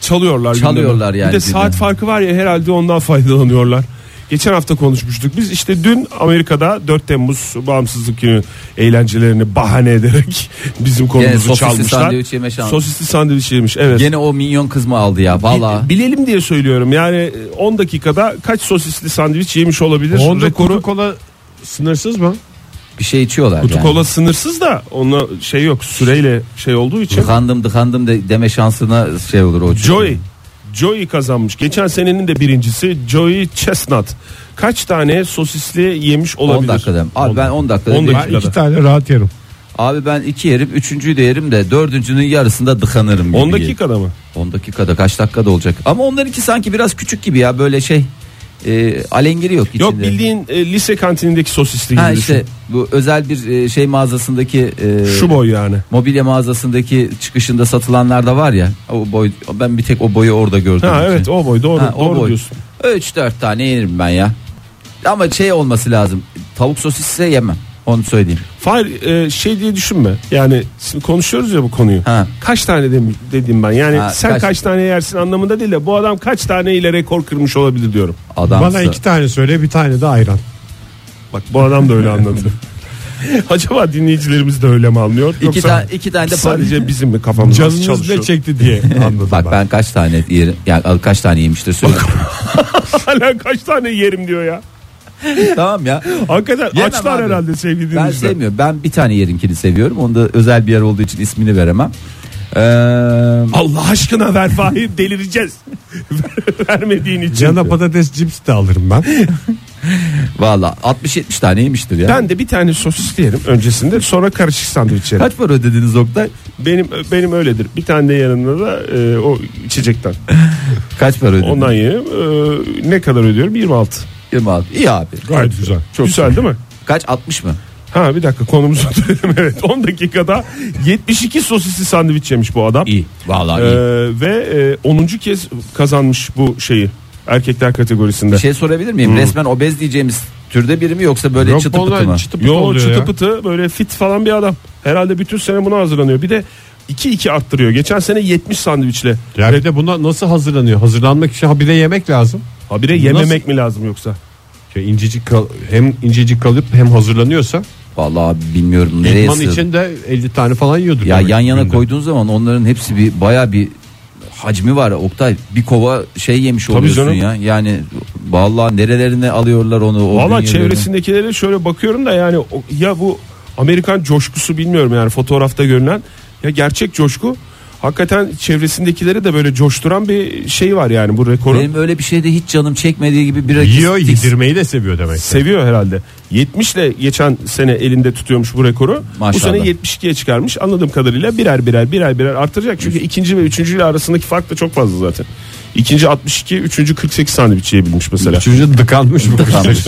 Speaker 4: çalıyorlar. gündemi.
Speaker 2: Çalıyorlar yani
Speaker 4: Bir de
Speaker 2: gündemi.
Speaker 4: saat farkı var ya herhalde ondan [laughs] faydalanıyorlar. Geçen hafta konuşmuştuk. Biz işte dün Amerika'da 4 Temmuz bağımsızlık günü eğlencelerini bahane ederek [laughs] bizim konumuzu
Speaker 2: sosisli
Speaker 4: çalmışlar.
Speaker 2: sandviç yeme şansı.
Speaker 4: Sosisli sandviç yemiş. Evet.
Speaker 2: Gene o minyon kızma aldı ya valla.
Speaker 4: Bil- Bilelim diye söylüyorum. Yani e, 10 dakikada kaç sosisli sandviç yemiş olabilir? Rekoru
Speaker 3: kola sınırsız mı?
Speaker 2: Bir şey içiyorlar
Speaker 4: kutu
Speaker 2: yani.
Speaker 4: kola sınırsız da onunla şey yok. Süreyle şey olduğu için.
Speaker 2: Dıkandım dıkandım de, deme şansına şey olur o. çünkü.
Speaker 4: Joey. Joey kazanmış. Geçen senenin de birincisi Joey Chestnut. Kaç tane sosisli yemiş
Speaker 2: 10
Speaker 4: olabilir?
Speaker 2: dakikada. Abi ben 10 dakikada.
Speaker 4: 10
Speaker 2: bir-
Speaker 4: dakika.
Speaker 3: Ben iki tane rahat yerim.
Speaker 2: Abi ben 2 yerim 3.'yü de yerim de 4.'ünün yarısında dıkanırım. gibi
Speaker 4: 10
Speaker 2: geliyor.
Speaker 4: dakikada mı?
Speaker 2: 10 dakikada kaç dakikada olacak. Ama onlarınki sanki biraz küçük gibi ya böyle şey. e, alengiri yok içinde.
Speaker 4: Yok bildiğin e, lise kantinindeki sosisli gibi
Speaker 2: Ha
Speaker 4: düşün.
Speaker 2: işte bu özel bir e, şey mağazasındaki e,
Speaker 4: Şu boy yani.
Speaker 2: mobilya mağazasındaki çıkışında satılanlar da var ya. O boy ben bir tek o boyu orada gördüm.
Speaker 4: Ha evet o boy doğru
Speaker 2: Ha, o
Speaker 4: doğru
Speaker 2: boy.
Speaker 4: diyorsun.
Speaker 2: 3 4 tane yerim ben ya. Ama şey olması lazım. Tavuk sosisse yemem. Onu söyleyeyim.
Speaker 4: Fahir e, şey diye düşünme. Yani şimdi konuşuyoruz ya bu konuyu.
Speaker 2: Ha.
Speaker 4: Kaç tane dem- dedim ben. Yani
Speaker 2: Ha,
Speaker 4: sen
Speaker 2: kaç-
Speaker 4: kaç... tane yersin anlamında değil de bu adam kaç tane ile rekor kırmış olabilir diyorum.
Speaker 2: Adam
Speaker 3: Bana iki tane söyle bir tane de ayran.
Speaker 4: Bak bu adam da öyle anladı. [laughs] Acaba dinleyicilerimiz de öyle mi anlıyor?
Speaker 2: İki tane- iki tane de
Speaker 4: sadece bizim mi kafamız
Speaker 3: Canınız
Speaker 4: çalışıyor?
Speaker 3: ne çekti [laughs] diye anladım
Speaker 2: Bak ben.
Speaker 3: ben.
Speaker 2: kaç tane yerim yani al- kaç tane yemiştir söyle.
Speaker 4: [laughs] Hala kaç tane yerim diyor ya.
Speaker 2: [laughs] tamam ya.
Speaker 4: Hakikaten
Speaker 2: Yemem
Speaker 4: açlar
Speaker 2: abi.
Speaker 4: herhalde sevgili
Speaker 2: Ben
Speaker 4: dinleyiciler.
Speaker 2: sevmiyorum. Ben bir tane yerinkini seviyorum. Onu da özel bir yer olduğu için ismini veremem. Ee,
Speaker 4: Allah aşkına ver Fahir delireceğiz. [laughs] Ver- Vermediğin için.
Speaker 3: Cana patates cips de alırım ben.
Speaker 2: Valla 60-70 tane yemiştir ya.
Speaker 4: Ben de bir tane sosis yerim öncesinde sonra karışık sandviç yerim.
Speaker 2: Kaç para ödediniz Oktay?
Speaker 4: Benim benim öyledir. Bir tane de yanında da e, o içecekten.
Speaker 2: Kaç para ödediniz?
Speaker 4: Ondan yerim. E, ne kadar ödüyorum? 26.
Speaker 2: 26. İyi abi.
Speaker 3: Gayet güzel.
Speaker 4: Çok güzel, değil mi?
Speaker 2: Kaç 60 mı?
Speaker 4: Ha bir dakika konumuzu [laughs] dönelim. Evet 10 dakikada 72 sosisli sandviç yemiş bu adam.
Speaker 2: İyi. Valla
Speaker 4: E,
Speaker 2: iyi.
Speaker 4: ve e, 10. kez kazanmış bu şeyi erkekler kategorisinde.
Speaker 2: Bir şey sorabilir miyim? Resmen obez diyeceğimiz türde biri mi yoksa böyle
Speaker 3: Yok
Speaker 2: çıtı pıtı
Speaker 3: vallahi
Speaker 2: mı?
Speaker 3: çıtı pıtı
Speaker 4: Yo
Speaker 3: oluyor
Speaker 4: çıtı
Speaker 3: ya.
Speaker 4: pıtı böyle fit falan bir adam. Herhalde bütün sene buna hazırlanıyor. Bir de 2-2 arttırıyor. Geçen sene 70 sandviçle.
Speaker 3: Ya bir de buna nasıl hazırlanıyor? Hazırlanmak için ha bir de yemek lazım.
Speaker 4: Habire
Speaker 3: Nasıl?
Speaker 4: yememek mi lazım yoksa?
Speaker 3: Ya Şey, incecik kal- hem incecik kalıp hem hazırlanıyorsa
Speaker 2: Vallahi bilmiyorum nereye
Speaker 3: idman
Speaker 2: sığdı.
Speaker 3: için de 50 tane falan yiyordur.
Speaker 2: Ya
Speaker 3: demek
Speaker 2: yan yana
Speaker 3: günde.
Speaker 2: koyduğun zaman onların hepsi bir baya bir hacmi var Oktay. Bir kova şey yemiş oluyorsun
Speaker 4: canım.
Speaker 2: ya. Yani vallahi nerelerine alıyorlar onu. o
Speaker 4: Valla
Speaker 2: bünyelerine.
Speaker 4: çevresindekilere şöyle bakıyorum da yani o- ya bu Amerikan coşkusu bilmiyorum yani fotoğrafta görünen ya gerçek coşku. Hakikaten çevresindekileri de böyle coşturan bir şey var yani bu rekoru.
Speaker 2: Benim öyle bir şeyde hiç canım çekmediği gibi
Speaker 4: [laughs]
Speaker 2: bir
Speaker 3: Yiyor yedirmeyi de seviyor demek.
Speaker 4: Seviyor herhalde. 70 ile geçen sene elinde tutuyormuş bu rekoru.
Speaker 2: Maşallah.
Speaker 4: Bu sene 72'ye çıkarmış. Anladığım kadarıyla birer birer birer birer artıracak. Çünkü ikinci ve üçüncü ile arasındaki fark da çok fazla zaten. İkinci 62, üçüncü 48 sandviç yiyebilmiş mesela.
Speaker 3: Üçüncü dıkanmış bu.
Speaker 2: Dıkanmış.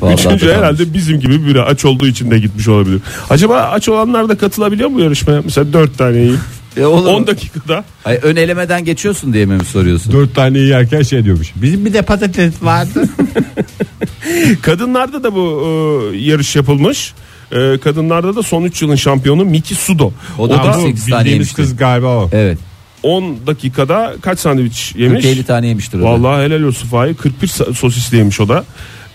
Speaker 2: Vallahi
Speaker 4: Üçüncü
Speaker 2: dıkanmış.
Speaker 4: herhalde bizim gibi biri aç olduğu için de gitmiş olabilir. Acaba aç olanlar da katılabiliyor mu yarışmaya? Mesela 4 tane yiyip
Speaker 2: E olur mu?
Speaker 4: 10 dakikada.
Speaker 2: Ay, ön elemeden geçiyorsun diye mi soruyorsun?
Speaker 3: Dört tane yerken şey diyormuş. Bizim bir de patates vardı.
Speaker 4: Kadınlarda da bu e, yarış yapılmış. E, kadınlarda da son 3 yılın şampiyonu Miki Sudo.
Speaker 2: O
Speaker 4: O
Speaker 2: da
Speaker 4: da,
Speaker 3: Ama
Speaker 2: bu
Speaker 3: bildiğimiz
Speaker 2: sekiz tane yemişti.
Speaker 3: kız galiba o.
Speaker 2: Evet.
Speaker 4: 10 dakikada kaç sandviç
Speaker 2: 50
Speaker 4: yemiş?
Speaker 2: tane yemiştir o. da.
Speaker 4: Vallahi helal olsun Fahir. 41 sa- sosisli yemiş o da.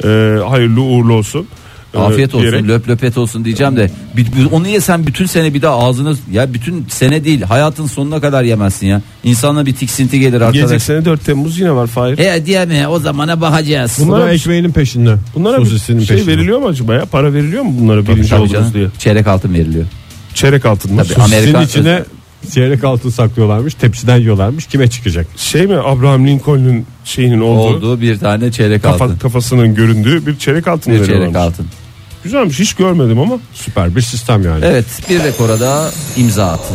Speaker 4: E, hayırlı uğurlu olsun. E,
Speaker 2: Afiyet olsun
Speaker 4: diyerek-
Speaker 2: löp löpet olsun diyeceğim de bir- bir- onu yesen bütün sene bir daha ağzını ya bütün sene değil hayatın sonuna kadar yemezsin ya. İnsana bir tiksinti gelir
Speaker 4: Gelecek
Speaker 2: arkadaş.
Speaker 4: sene 4 Temmuz yine var Fahir.
Speaker 2: E diye mi o zamana bakacağız.
Speaker 3: Bunlara
Speaker 4: Bunlara bir-
Speaker 3: ekmeğinin peşinde.
Speaker 4: Bunlara bir
Speaker 3: sosisinin
Speaker 4: şey
Speaker 3: peşinde.
Speaker 4: veriliyor mu acaba ya? Para veriliyor mu bunlara birinci
Speaker 2: Tabii
Speaker 4: oldunuz
Speaker 2: canım,
Speaker 4: diye?
Speaker 2: Çeyrek altın veriliyor.
Speaker 4: Çeyrek altın mı?
Speaker 2: Tabii.
Speaker 4: Sus.
Speaker 3: Sosisinin
Speaker 2: Amerikan-
Speaker 3: içine çeyrek altın saklıyorlarmış. Tepsiden yiyorlarmış. Kime çıkacak?
Speaker 4: Şey mi Abraham Lincoln'un şeyinin olduğu
Speaker 2: Olduğu bir tane çeyrek
Speaker 4: kafa-
Speaker 2: altın.
Speaker 4: kafasının göründüğü bir çeyrek altın
Speaker 2: Bir
Speaker 4: veriyorlarmış.
Speaker 2: çeyrek altın.
Speaker 4: Güzelmiş hiç görmedim ama.
Speaker 3: Süper bir sistem yani.
Speaker 2: Evet bir rekora da imza attı.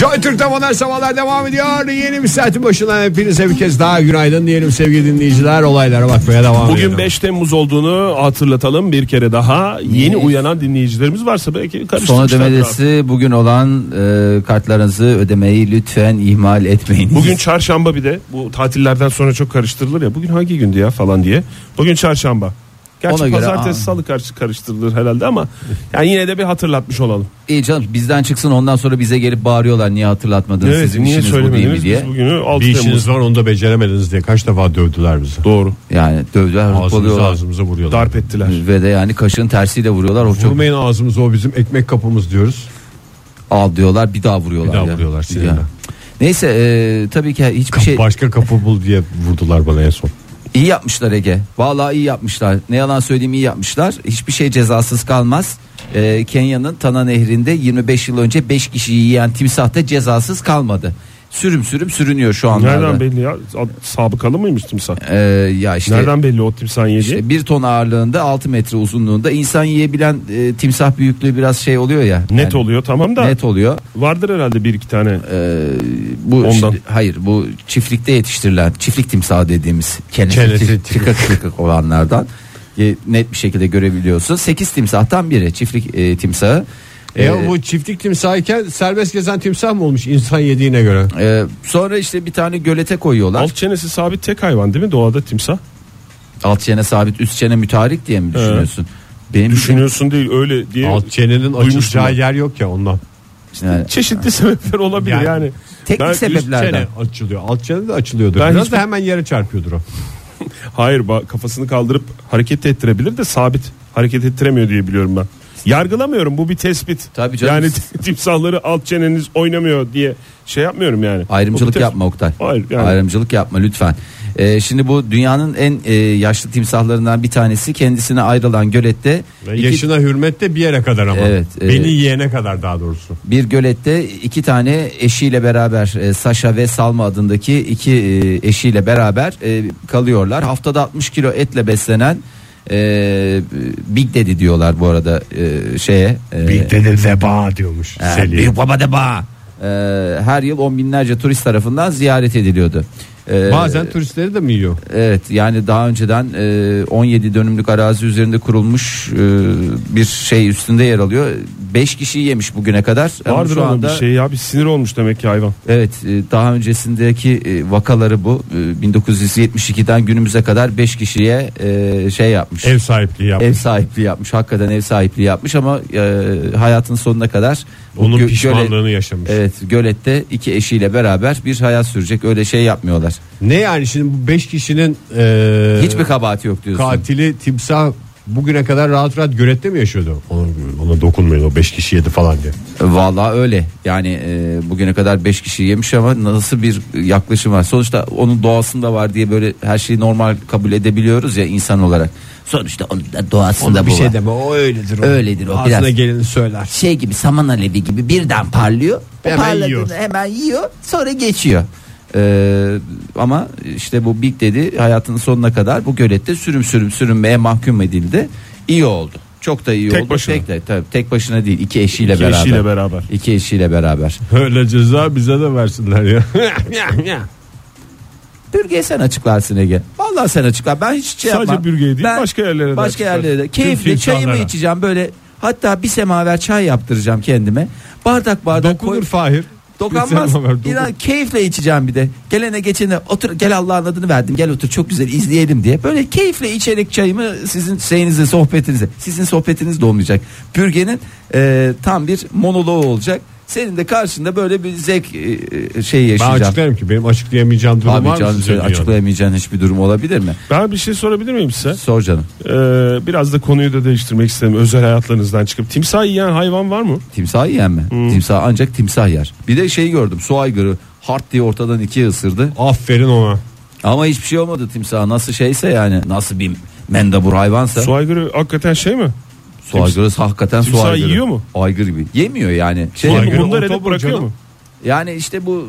Speaker 3: Joy Türk'te modern sabahlar devam ediyor. Yeni bir saatin başına hepinize bir kez daha günaydın diyelim sevgili dinleyiciler. Olaylara bakmaya devam edelim.
Speaker 4: Bugün 5 Temmuz olduğunu hatırlatalım bir kere daha. Yeni uyanan dinleyicilerimiz varsa belki
Speaker 2: Son
Speaker 4: karıştırmışlar.
Speaker 2: ödemesi bugün olan e, kartlarınızı ödemeyi lütfen ihmal etmeyin.
Speaker 4: Bugün çarşamba bir de bu tatillerden sonra çok karıştırılır ya. Bugün hangi gündü ya falan diye. Bugün çarşamba. Gerçi
Speaker 2: Ona göre,
Speaker 4: pazartesi
Speaker 2: aa.
Speaker 4: salı karşı karıştırılır herhalde ama yani yine de bir hatırlatmış olalım.
Speaker 2: [laughs] İyi canım bizden çıksın ondan sonra bize gelip bağırıyorlar niye hatırlatmadınız
Speaker 4: Evet,
Speaker 2: sizin
Speaker 4: niye
Speaker 2: işiniz bu değil mi
Speaker 4: söylemediniz?
Speaker 2: diye.
Speaker 4: Biz bugünü 6
Speaker 3: bir
Speaker 4: Temmuz.
Speaker 3: işiniz var onu da beceremediniz diye kaç defa dövdüler bizi.
Speaker 4: Doğru.
Speaker 2: Yani dövdüler
Speaker 3: Ağzımıza
Speaker 2: hırpalıyorlar.
Speaker 3: ağzımıza vuruyorlar.
Speaker 4: Darp ettiler.
Speaker 2: Ve de yani kaşığın tersiyle vuruyorlar. O çok
Speaker 3: Vurmayın ağzımıza o bizim ekmek kapımız diyoruz.
Speaker 2: al diyorlar bir daha vuruyorlar.
Speaker 3: Bir daha
Speaker 2: ya.
Speaker 3: vuruyorlar, sinirle.
Speaker 2: Ya. Neyse e, tabii ki hiçbir
Speaker 3: Kap-
Speaker 2: şey
Speaker 3: Başka kapı bul diye vurdular bana en son.
Speaker 2: iyi yapmışlar Ege. Vallahi iyi yapmışlar. Ne yalan söyleyeyim iyi yapmışlar. Hiçbir şey cezasız kalmaz. Ee, E, Kenya'nın Tana Nehri'nde 25 yıl önce 5 kişiyi yiyen timsah da cezasız kalmadı. sürüm sürüm sürünüyor şu anlarda.
Speaker 4: Nereden belli ya? Sabıkalı mıymış timsah?
Speaker 2: Ee, ya işte,
Speaker 4: Nereden belli o timsahın yediği?
Speaker 2: işte bir ton ağırlığında 6 metre uzunluğunda insan yiyebilen e, timsah büyüklüğü biraz şey oluyor ya.
Speaker 4: Net
Speaker 2: Yani
Speaker 4: oluyor tamam da
Speaker 2: Net oluyor.
Speaker 4: vardır herhalde bir iki tane.
Speaker 2: Ee, bu
Speaker 4: Ondan.
Speaker 2: şimdi- hayır bu çiftlikte yetiştirilen çiftlik timsahı dediğimiz
Speaker 3: Çenesi timsah.
Speaker 2: kenesi tıkık tıkık olanlardan e, net bir şekilde görebiliyorsun. 8 timsahtan biri çiftlik e, timsahı.
Speaker 3: E,
Speaker 2: Ee,
Speaker 3: bu çiftlik timsah iken serbest gezen timsah mı olmuş insan yediğine göre?
Speaker 2: e, sonra işte bir tane gölete koyuyorlar. Alt,
Speaker 4: Alt çenesi sabit tek hayvan değil mi doğada timsah?
Speaker 2: çene sabit üst çene mütarik diye mi düşünüyorsun? Benim
Speaker 4: Düşünüyorsun değil öyle diye.
Speaker 3: Alt çenenin
Speaker 4: Duymuştum
Speaker 3: açılacağı
Speaker 4: ben.
Speaker 3: yer yok ya ondan.
Speaker 2: yani,
Speaker 4: Çeşitli [laughs] sebepler olabilir
Speaker 3: Yani-
Speaker 4: yani.
Speaker 2: teknik
Speaker 4: Ben üst
Speaker 2: sebeplerden.
Speaker 3: Çene açılıyor. Alt çene de açılıyordur.
Speaker 4: Ben
Speaker 3: Biraz
Speaker 4: hiç-
Speaker 3: da hemen yere çarpıyordur o.
Speaker 4: Hayır ba- kafasını kaldırıp hareket ettirebilir de sabit hareket ettiremiyor diye biliyorum ben. Yargılamıyorum bu bir tespit.
Speaker 2: Tabii canım.
Speaker 4: Yani [laughs] timsahları alt çeneniz oynamıyor diye şey yapmıyorum yani. Bu bir
Speaker 2: Ayrımcılık
Speaker 4: tespit.
Speaker 2: yapma Oktay.
Speaker 4: Hayır, yani.
Speaker 2: Ayrımcılık yapma lütfen. Ee, şimdi bu dünyanın en e, yaşlı timsahlarından bir tanesi kendisine ayrılan gölette
Speaker 3: Ve
Speaker 2: iki-
Speaker 3: yaşına hürmet de bir yere kadar ama.
Speaker 2: Evet, e-
Speaker 3: Beni yiyene kadar daha doğrusu.
Speaker 2: bir gölette iki tane eşiyle beraber e, Saşa ve Salma adındaki iki e, eşiyle beraber e, kalıyorlar. Haftada 60 kilo etle beslenen e, Big Daddy diyorlar bu arada e, şeye. e,
Speaker 3: Dede zeba diyormuş.
Speaker 2: Ha, Büyük baba da bağ. Ee, her yıl on binlerce turist tarafından ziyaret ediliyordu. Ee,
Speaker 3: Bazen turistleri de mi yiyor?
Speaker 2: Evet yani daha önceden e, 17 dönümlük arazi üzerinde kurulmuş e, bir şey üstünde yer alıyor. 5 kişiyi yemiş bugüne kadar. Ama
Speaker 4: Vardır
Speaker 2: şu
Speaker 4: onun
Speaker 2: anda
Speaker 4: bir şey ya bir sinir olmuş demek ki hayvan.
Speaker 2: Evet e, daha öncesindeki e, vakaları bu. E, 1972'den günümüze kadar 5 kişiye e, şey yapmış.
Speaker 3: Ev sahipliği yapmış.
Speaker 2: Ev sahipliği yapmış. Hakikaten ev sahipliği yapmış ama e, hayatın sonuna kadar bu
Speaker 3: Onun
Speaker 2: gö- göle-
Speaker 3: pişmanlığını yaşamış.
Speaker 2: Evet gölette iki eşiyle beraber bir hayat sürecek öyle şey yapmıyorlar.
Speaker 3: Ne yani şimdi bu 5 kişinin e,
Speaker 2: Hiçbir kabahati yok diyorsun.
Speaker 3: katili timsah bugüne kadar rahat rahat gölette mi yaşıyordu? Ona, ona dokunmayın o 5 kişi yedi falan diye.
Speaker 2: Vallahi öyle yani e, bugüne kadar 5 kişi yemiş ama nasıl bir yaklaşım var. Sonuçta onun doğasında var diye böyle her şeyi normal kabul edebiliyoruz ya insan olarak. Sonuçta onun da doğasında bu
Speaker 4: şey
Speaker 2: var.
Speaker 3: şey deme o öyledir o.
Speaker 2: Öyledir o,
Speaker 3: Ağzına
Speaker 2: biraz.
Speaker 3: geleni söyler.
Speaker 2: Şey gibi saman alevi gibi birden parlıyor. O
Speaker 3: Hemen
Speaker 2: parladığını
Speaker 3: yiyor.
Speaker 2: Hemen yiyor sonra geçiyor. E, ama işte bu Big dedi hayatının sonuna kadar bu gölette sürüm sürüm sürünmeye mahkum edildi. İyi oldu. Çok da iyi
Speaker 4: Tek
Speaker 2: oldu.
Speaker 4: başına.
Speaker 2: Tek, de- tabii, tek başına değil iki eşiyle
Speaker 4: İki
Speaker 2: beraber.
Speaker 4: eşiyle beraber.
Speaker 2: İki eşiyle beraber.
Speaker 3: Öyle ceza bize de versinler ya.
Speaker 2: Bürge'ye sen açıklarsın Ege. Vallahi sen açıklar. Ben hiç şey
Speaker 4: Sadece
Speaker 2: yapmam.
Speaker 4: Bürge'ye değil,
Speaker 2: Ben
Speaker 4: başka yerlere de
Speaker 2: Başka
Speaker 4: açıklarsın.
Speaker 2: yerlere de.
Speaker 4: Tüm
Speaker 2: Keyifli çayımı
Speaker 3: timsahlara.
Speaker 2: içeceğim böyle. Hatta bir semaver çay yaptıracağım kendime. Bardak bardak
Speaker 3: Dokunur
Speaker 2: koy-
Speaker 3: Fahir.
Speaker 2: Dokanmaz.
Speaker 3: Bir semaver dokun-
Speaker 2: İnan keyifle içeceğim bir de. Gelene geçene otur gel Allah'ın adını verdim gel otur çok güzel izleyelim diye. Böyle keyifle içerek çayımı sizin şeyinize sohbetinize. Sizin sohbetiniz de olmayacak. Bürgenin e, tam bir monoloğu olacak. Senin de karşında böyle bir zevk e, e, şeyi
Speaker 3: Ben
Speaker 2: yaşayacağım.
Speaker 3: açıklarım ki benim açıklayamayacağım durum var
Speaker 2: Abi
Speaker 3: mı
Speaker 2: canım
Speaker 3: sizce
Speaker 2: senin
Speaker 3: dünyada?
Speaker 2: açıklayamayacağın hiçbir durum olabilir mi?
Speaker 4: Ben bir şey sorabilir miyim size?
Speaker 2: Sor canım.
Speaker 4: Ee, biraz da konuyu da değiştirmek istedim özel hayatlarınızdan çıkıp. Timsah yiyen hayvan var mı?
Speaker 2: Timsah yiyen mi?
Speaker 4: Hmm.
Speaker 2: Timsah ancak timsah yer. Bir de şeyi gördüm. Su aygırı hart diye ortadan ikiye ısırdı.
Speaker 3: Aferin ona.
Speaker 2: Ama hiçbir şey olmadı timsaha. Nasıl şeyse yani nasıl bir mendebur hayvansa.
Speaker 4: Su aygırı hakikaten şey mi?
Speaker 2: su aygırı hakikaten su
Speaker 4: timsah
Speaker 2: aygırı.
Speaker 4: yiyor mu?
Speaker 2: Aygır gibi. Yemiyor yani. Şey,
Speaker 3: Su aygırı.
Speaker 2: bu-
Speaker 4: Bunları
Speaker 3: otobur
Speaker 4: edip bırakıyor
Speaker 3: canım.
Speaker 4: mu?
Speaker 2: yani işte bu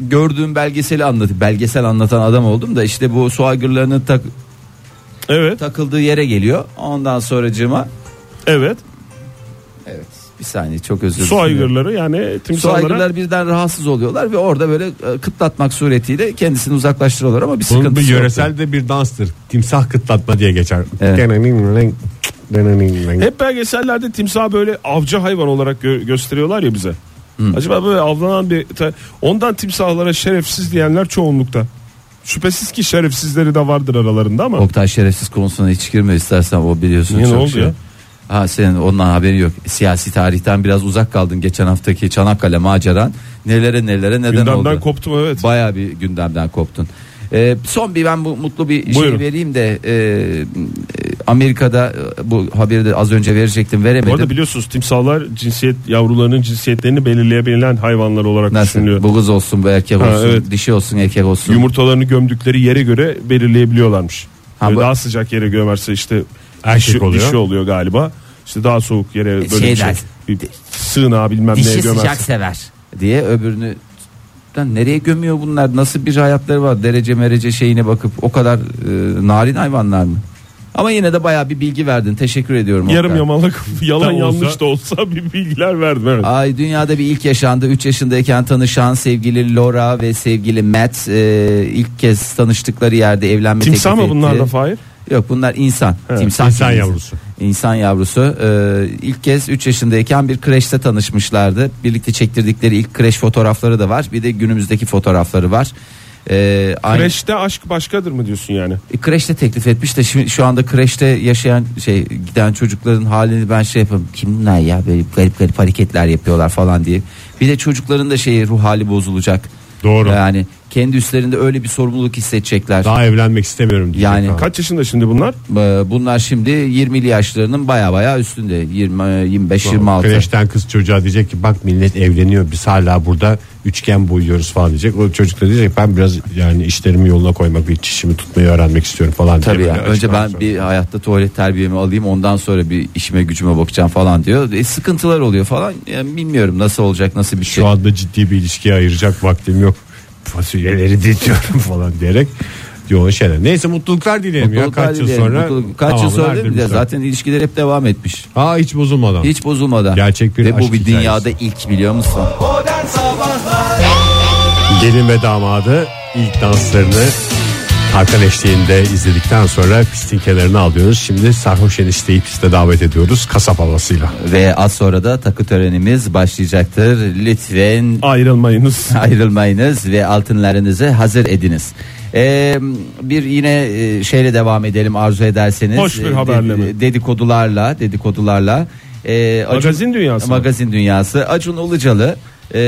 Speaker 2: gördüğüm belgeseli anlat belgesel anlatan adam oldum da işte bu su aygırlarının tak-
Speaker 4: Evet.
Speaker 2: takıldığı yere geliyor. Ondan sonracığıma
Speaker 4: Evet.
Speaker 2: evet bir saniye çok özür
Speaker 4: Su
Speaker 2: diliyorum.
Speaker 4: aygırları yani
Speaker 2: Su
Speaker 4: timsahlara
Speaker 2: aygırlar birden rahatsız oluyorlar ve orada böyle e, kıtlatmak suretiyle kendisini uzaklaştırıyorlar ama bir
Speaker 3: Bunun
Speaker 2: sıkıntı
Speaker 3: bir yöresel de bir danstır. Timsah kıtlatma diye geçer. Denenenenenen, denenenenen.
Speaker 4: hep belgesellerde timsah böyle avcı hayvan olarak gö- gösteriyorlar ya bize. Acaba böyle avlanan bir ta- ondan timsahlara şerefsiz diyenler çoğunlukta. Şüphesiz ki şerefsizleri de vardır aralarında ama
Speaker 2: Oktay şerefsiz konusuna hiç girme istersen o biliyorsun
Speaker 4: Niye, ne
Speaker 2: çok
Speaker 4: oldu
Speaker 2: şey.
Speaker 4: ya?
Speaker 2: Ha senin ondan haberi yok. Siyasi tarihten biraz uzak kaldın geçen haftaki Çanakkale maceran. Nelere nelere neden
Speaker 4: gündemden
Speaker 2: oldu.
Speaker 4: koptum evet.
Speaker 2: Bayağı bir gündemden koptun. Ee, son bir ben bu mutlu bir
Speaker 4: Buyurun.
Speaker 2: şey vereyim de e, e, Amerika'da e, bu haberi de az önce verecektim
Speaker 4: Bu arada
Speaker 2: veremedim.
Speaker 4: biliyorsunuz timsahlar cinsiyet yavrularının cinsiyetlerini belirleyebilen hayvanlar olarak düşünülüyor.
Speaker 2: Nasıl? Bu kız olsun bu erkek
Speaker 4: Ha,
Speaker 2: olsun
Speaker 4: evet.
Speaker 2: dişi olsun erkek olsun.
Speaker 4: Yumurtalarını gömdükleri yere göre belirleyebiliyorlarmış.
Speaker 2: Ha,
Speaker 4: Böyle
Speaker 2: bu-
Speaker 4: daha sıcak yere gömerse işte
Speaker 3: Erkek
Speaker 4: dişi,
Speaker 3: oluyor.
Speaker 4: dişi oluyor galiba. İşte daha soğuk yere böyle
Speaker 2: Şey
Speaker 4: bir şey,
Speaker 2: der.
Speaker 4: bir sığınağı bilmem neye gömerse.
Speaker 2: sever diye öbürünü gerçekten nereye gömüyor bunlar? Nasıl bir hayatları var? Derece merece şeyine bakıp o kadar e, narin hayvanlar mı? Ama yine de bayağı bir bilgi verdin. Teşekkür ediyorum.
Speaker 4: Yarım
Speaker 2: Oktay.
Speaker 4: yamalak [laughs] yalan
Speaker 5: Da olsa-
Speaker 4: yanlış da olsa bir bilgiler verdim. Evet.
Speaker 2: Ay dünyada bir ilk yaşandı. 3 yaşındayken tanışan sevgili Laura ve sevgili Matt e, ilk kez tanıştıkları yerde evlenme
Speaker 4: Timsah mı
Speaker 2: teklifi
Speaker 4: bunlar
Speaker 2: etti.
Speaker 4: da Fahir?
Speaker 2: Yok bunlar insan. Timsah
Speaker 3: İnsan
Speaker 2: değil.
Speaker 3: yavrusu.
Speaker 2: İnsan yavrusu. Ee, ilk kez 3 yaşındayken bir kreşte tanışmışlardı. Birlikte çektirdikleri ilk kreş fotoğrafları da var. Bir de günümüzdeki fotoğrafları var. Ee, aynı, kreş.
Speaker 4: Kreşte aşk başkadır mı diyorsun yani?
Speaker 2: Kreşte teklif etmiş de şimdi şu anda kreşte yaşayan şey giden çocukların halini ben şey yapayım. Kimler ya böyle garip garip hareketler yapıyorlar falan diye. Bir de çocukların da şeyi ruh hali bozulacak.
Speaker 3: Doğru.
Speaker 2: Yani kendi üstlerinde öyle bir sorumluluk hissedecekler.
Speaker 3: Daha evlenmek istemiyorum diyecek.
Speaker 2: Yani-
Speaker 3: ha.
Speaker 4: Kaç yaşında şimdi bunlar?
Speaker 2: Ee, bunlar şimdi 20'li yaşlarının baya baya üstünde 20 25 26.
Speaker 3: Kreşten kız çocuğa diyecek ki bak millet evleniyor biz hala burada üçgen boyuyoruz falan diyecek. O çocuk da diyecek ben biraz yani işlerimi yoluna koymak bir çişimi tutmayı öğrenmek istiyorum falan
Speaker 2: Tabii
Speaker 3: diye.
Speaker 2: yani.
Speaker 3: böyle
Speaker 2: Önce
Speaker 3: açıklar
Speaker 2: ben
Speaker 3: sonra.
Speaker 2: bir hayatta tuvalet terbiyemi alayım ondan sonra bir işime gücüme bakacağım falan diyor. E, sıkıntılar oluyor falan. Yani bilmiyorum nasıl olacak nasıl bir şey.
Speaker 3: Şu anda ciddi bir ilişkiye ayıracak vaktim yok. Fasulyeleri diziyorum [laughs] falan diyerek yoğun şeyler. Neyse mutluluklar dileyelim
Speaker 2: Mutluluklar
Speaker 3: ya kaç yıl
Speaker 2: dileyelim,
Speaker 3: sonra.
Speaker 2: mutluluk- kaç yıl
Speaker 3: tamamını
Speaker 2: sonra değil mi?
Speaker 3: erdirmişler.
Speaker 2: zaten ilişkiler hep devam etmiş.
Speaker 3: Aa hiç bozulmadan.
Speaker 2: Hiç bozulmadan.
Speaker 3: Gerçek bir
Speaker 2: Ve bu
Speaker 3: aşk
Speaker 2: bir
Speaker 3: hikayesi.
Speaker 2: dünyada ilk biliyor musun?
Speaker 3: Gelin ve damadı ilk danslarını Hakan eşliğinde izledikten sonra pistin kenarına alıyoruz. Şimdi sarhoş enişteyi piste davet ediyoruz kasap havasıyla.
Speaker 2: Ve az sonra da takı törenimiz başlayacaktır. Lütfen
Speaker 4: Ayrılmayınız.
Speaker 2: [laughs] ayrılmayınız ve altınlarınızı hazır ediniz. Ee, bir yine e, şeyle devam edelim arzu ederseniz.
Speaker 4: Hoş bir
Speaker 2: Ee,
Speaker 4: haberle
Speaker 2: de-
Speaker 4: mi?
Speaker 2: Dedikodularla, dedikodularla. Ee,
Speaker 4: Magazin dünyası mı?
Speaker 2: Magazin dünyası. Acun Ilıcalı e,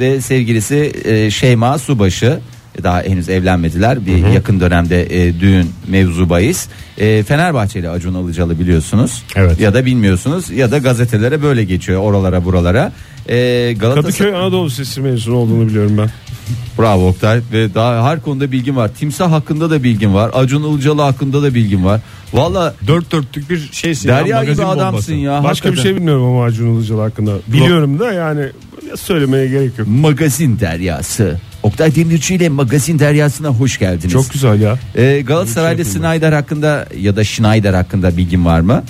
Speaker 2: ve sevgilisi e, Şeyma Subaşı daha henüz evlenmediler. Bir yakın dönemde e, düğün mevzu bahis. E, Fenerbahçeli Acun Ilıcalı biliyorsunuz.
Speaker 3: Evet.
Speaker 2: Ya da bilmiyorsunuz ya da gazetelere böyle geçiyor oralara buralara. E, Galatasaray-
Speaker 4: Kadıköy Anadolu Sesi mezunu olduğunu biliyorum ben.
Speaker 2: Bravo Oktay ve daha her konuda bilgim var. Timsah hakkında da bilgim var. Acun Ilıcalı hakkında da bilgim var. Valla
Speaker 3: Dört dörtlük bir şeysin. ya,
Speaker 2: derya gibi
Speaker 3: magazin
Speaker 2: adamsın
Speaker 3: bombası.
Speaker 2: ya.
Speaker 4: Başka
Speaker 2: hakikaten.
Speaker 4: bir şey bilmiyorum ama Acun Ilıcalı hakkında. Biliyorum da yani söylemeye gerek yok.
Speaker 2: Magazin deryası. Oktay Demirci ile magazin deryasına hoş geldiniz.
Speaker 4: Çok güzel ya.
Speaker 2: Ee, Galatasaraylı Snyder hakkında ya da Schneider hakkında bilgim var mı?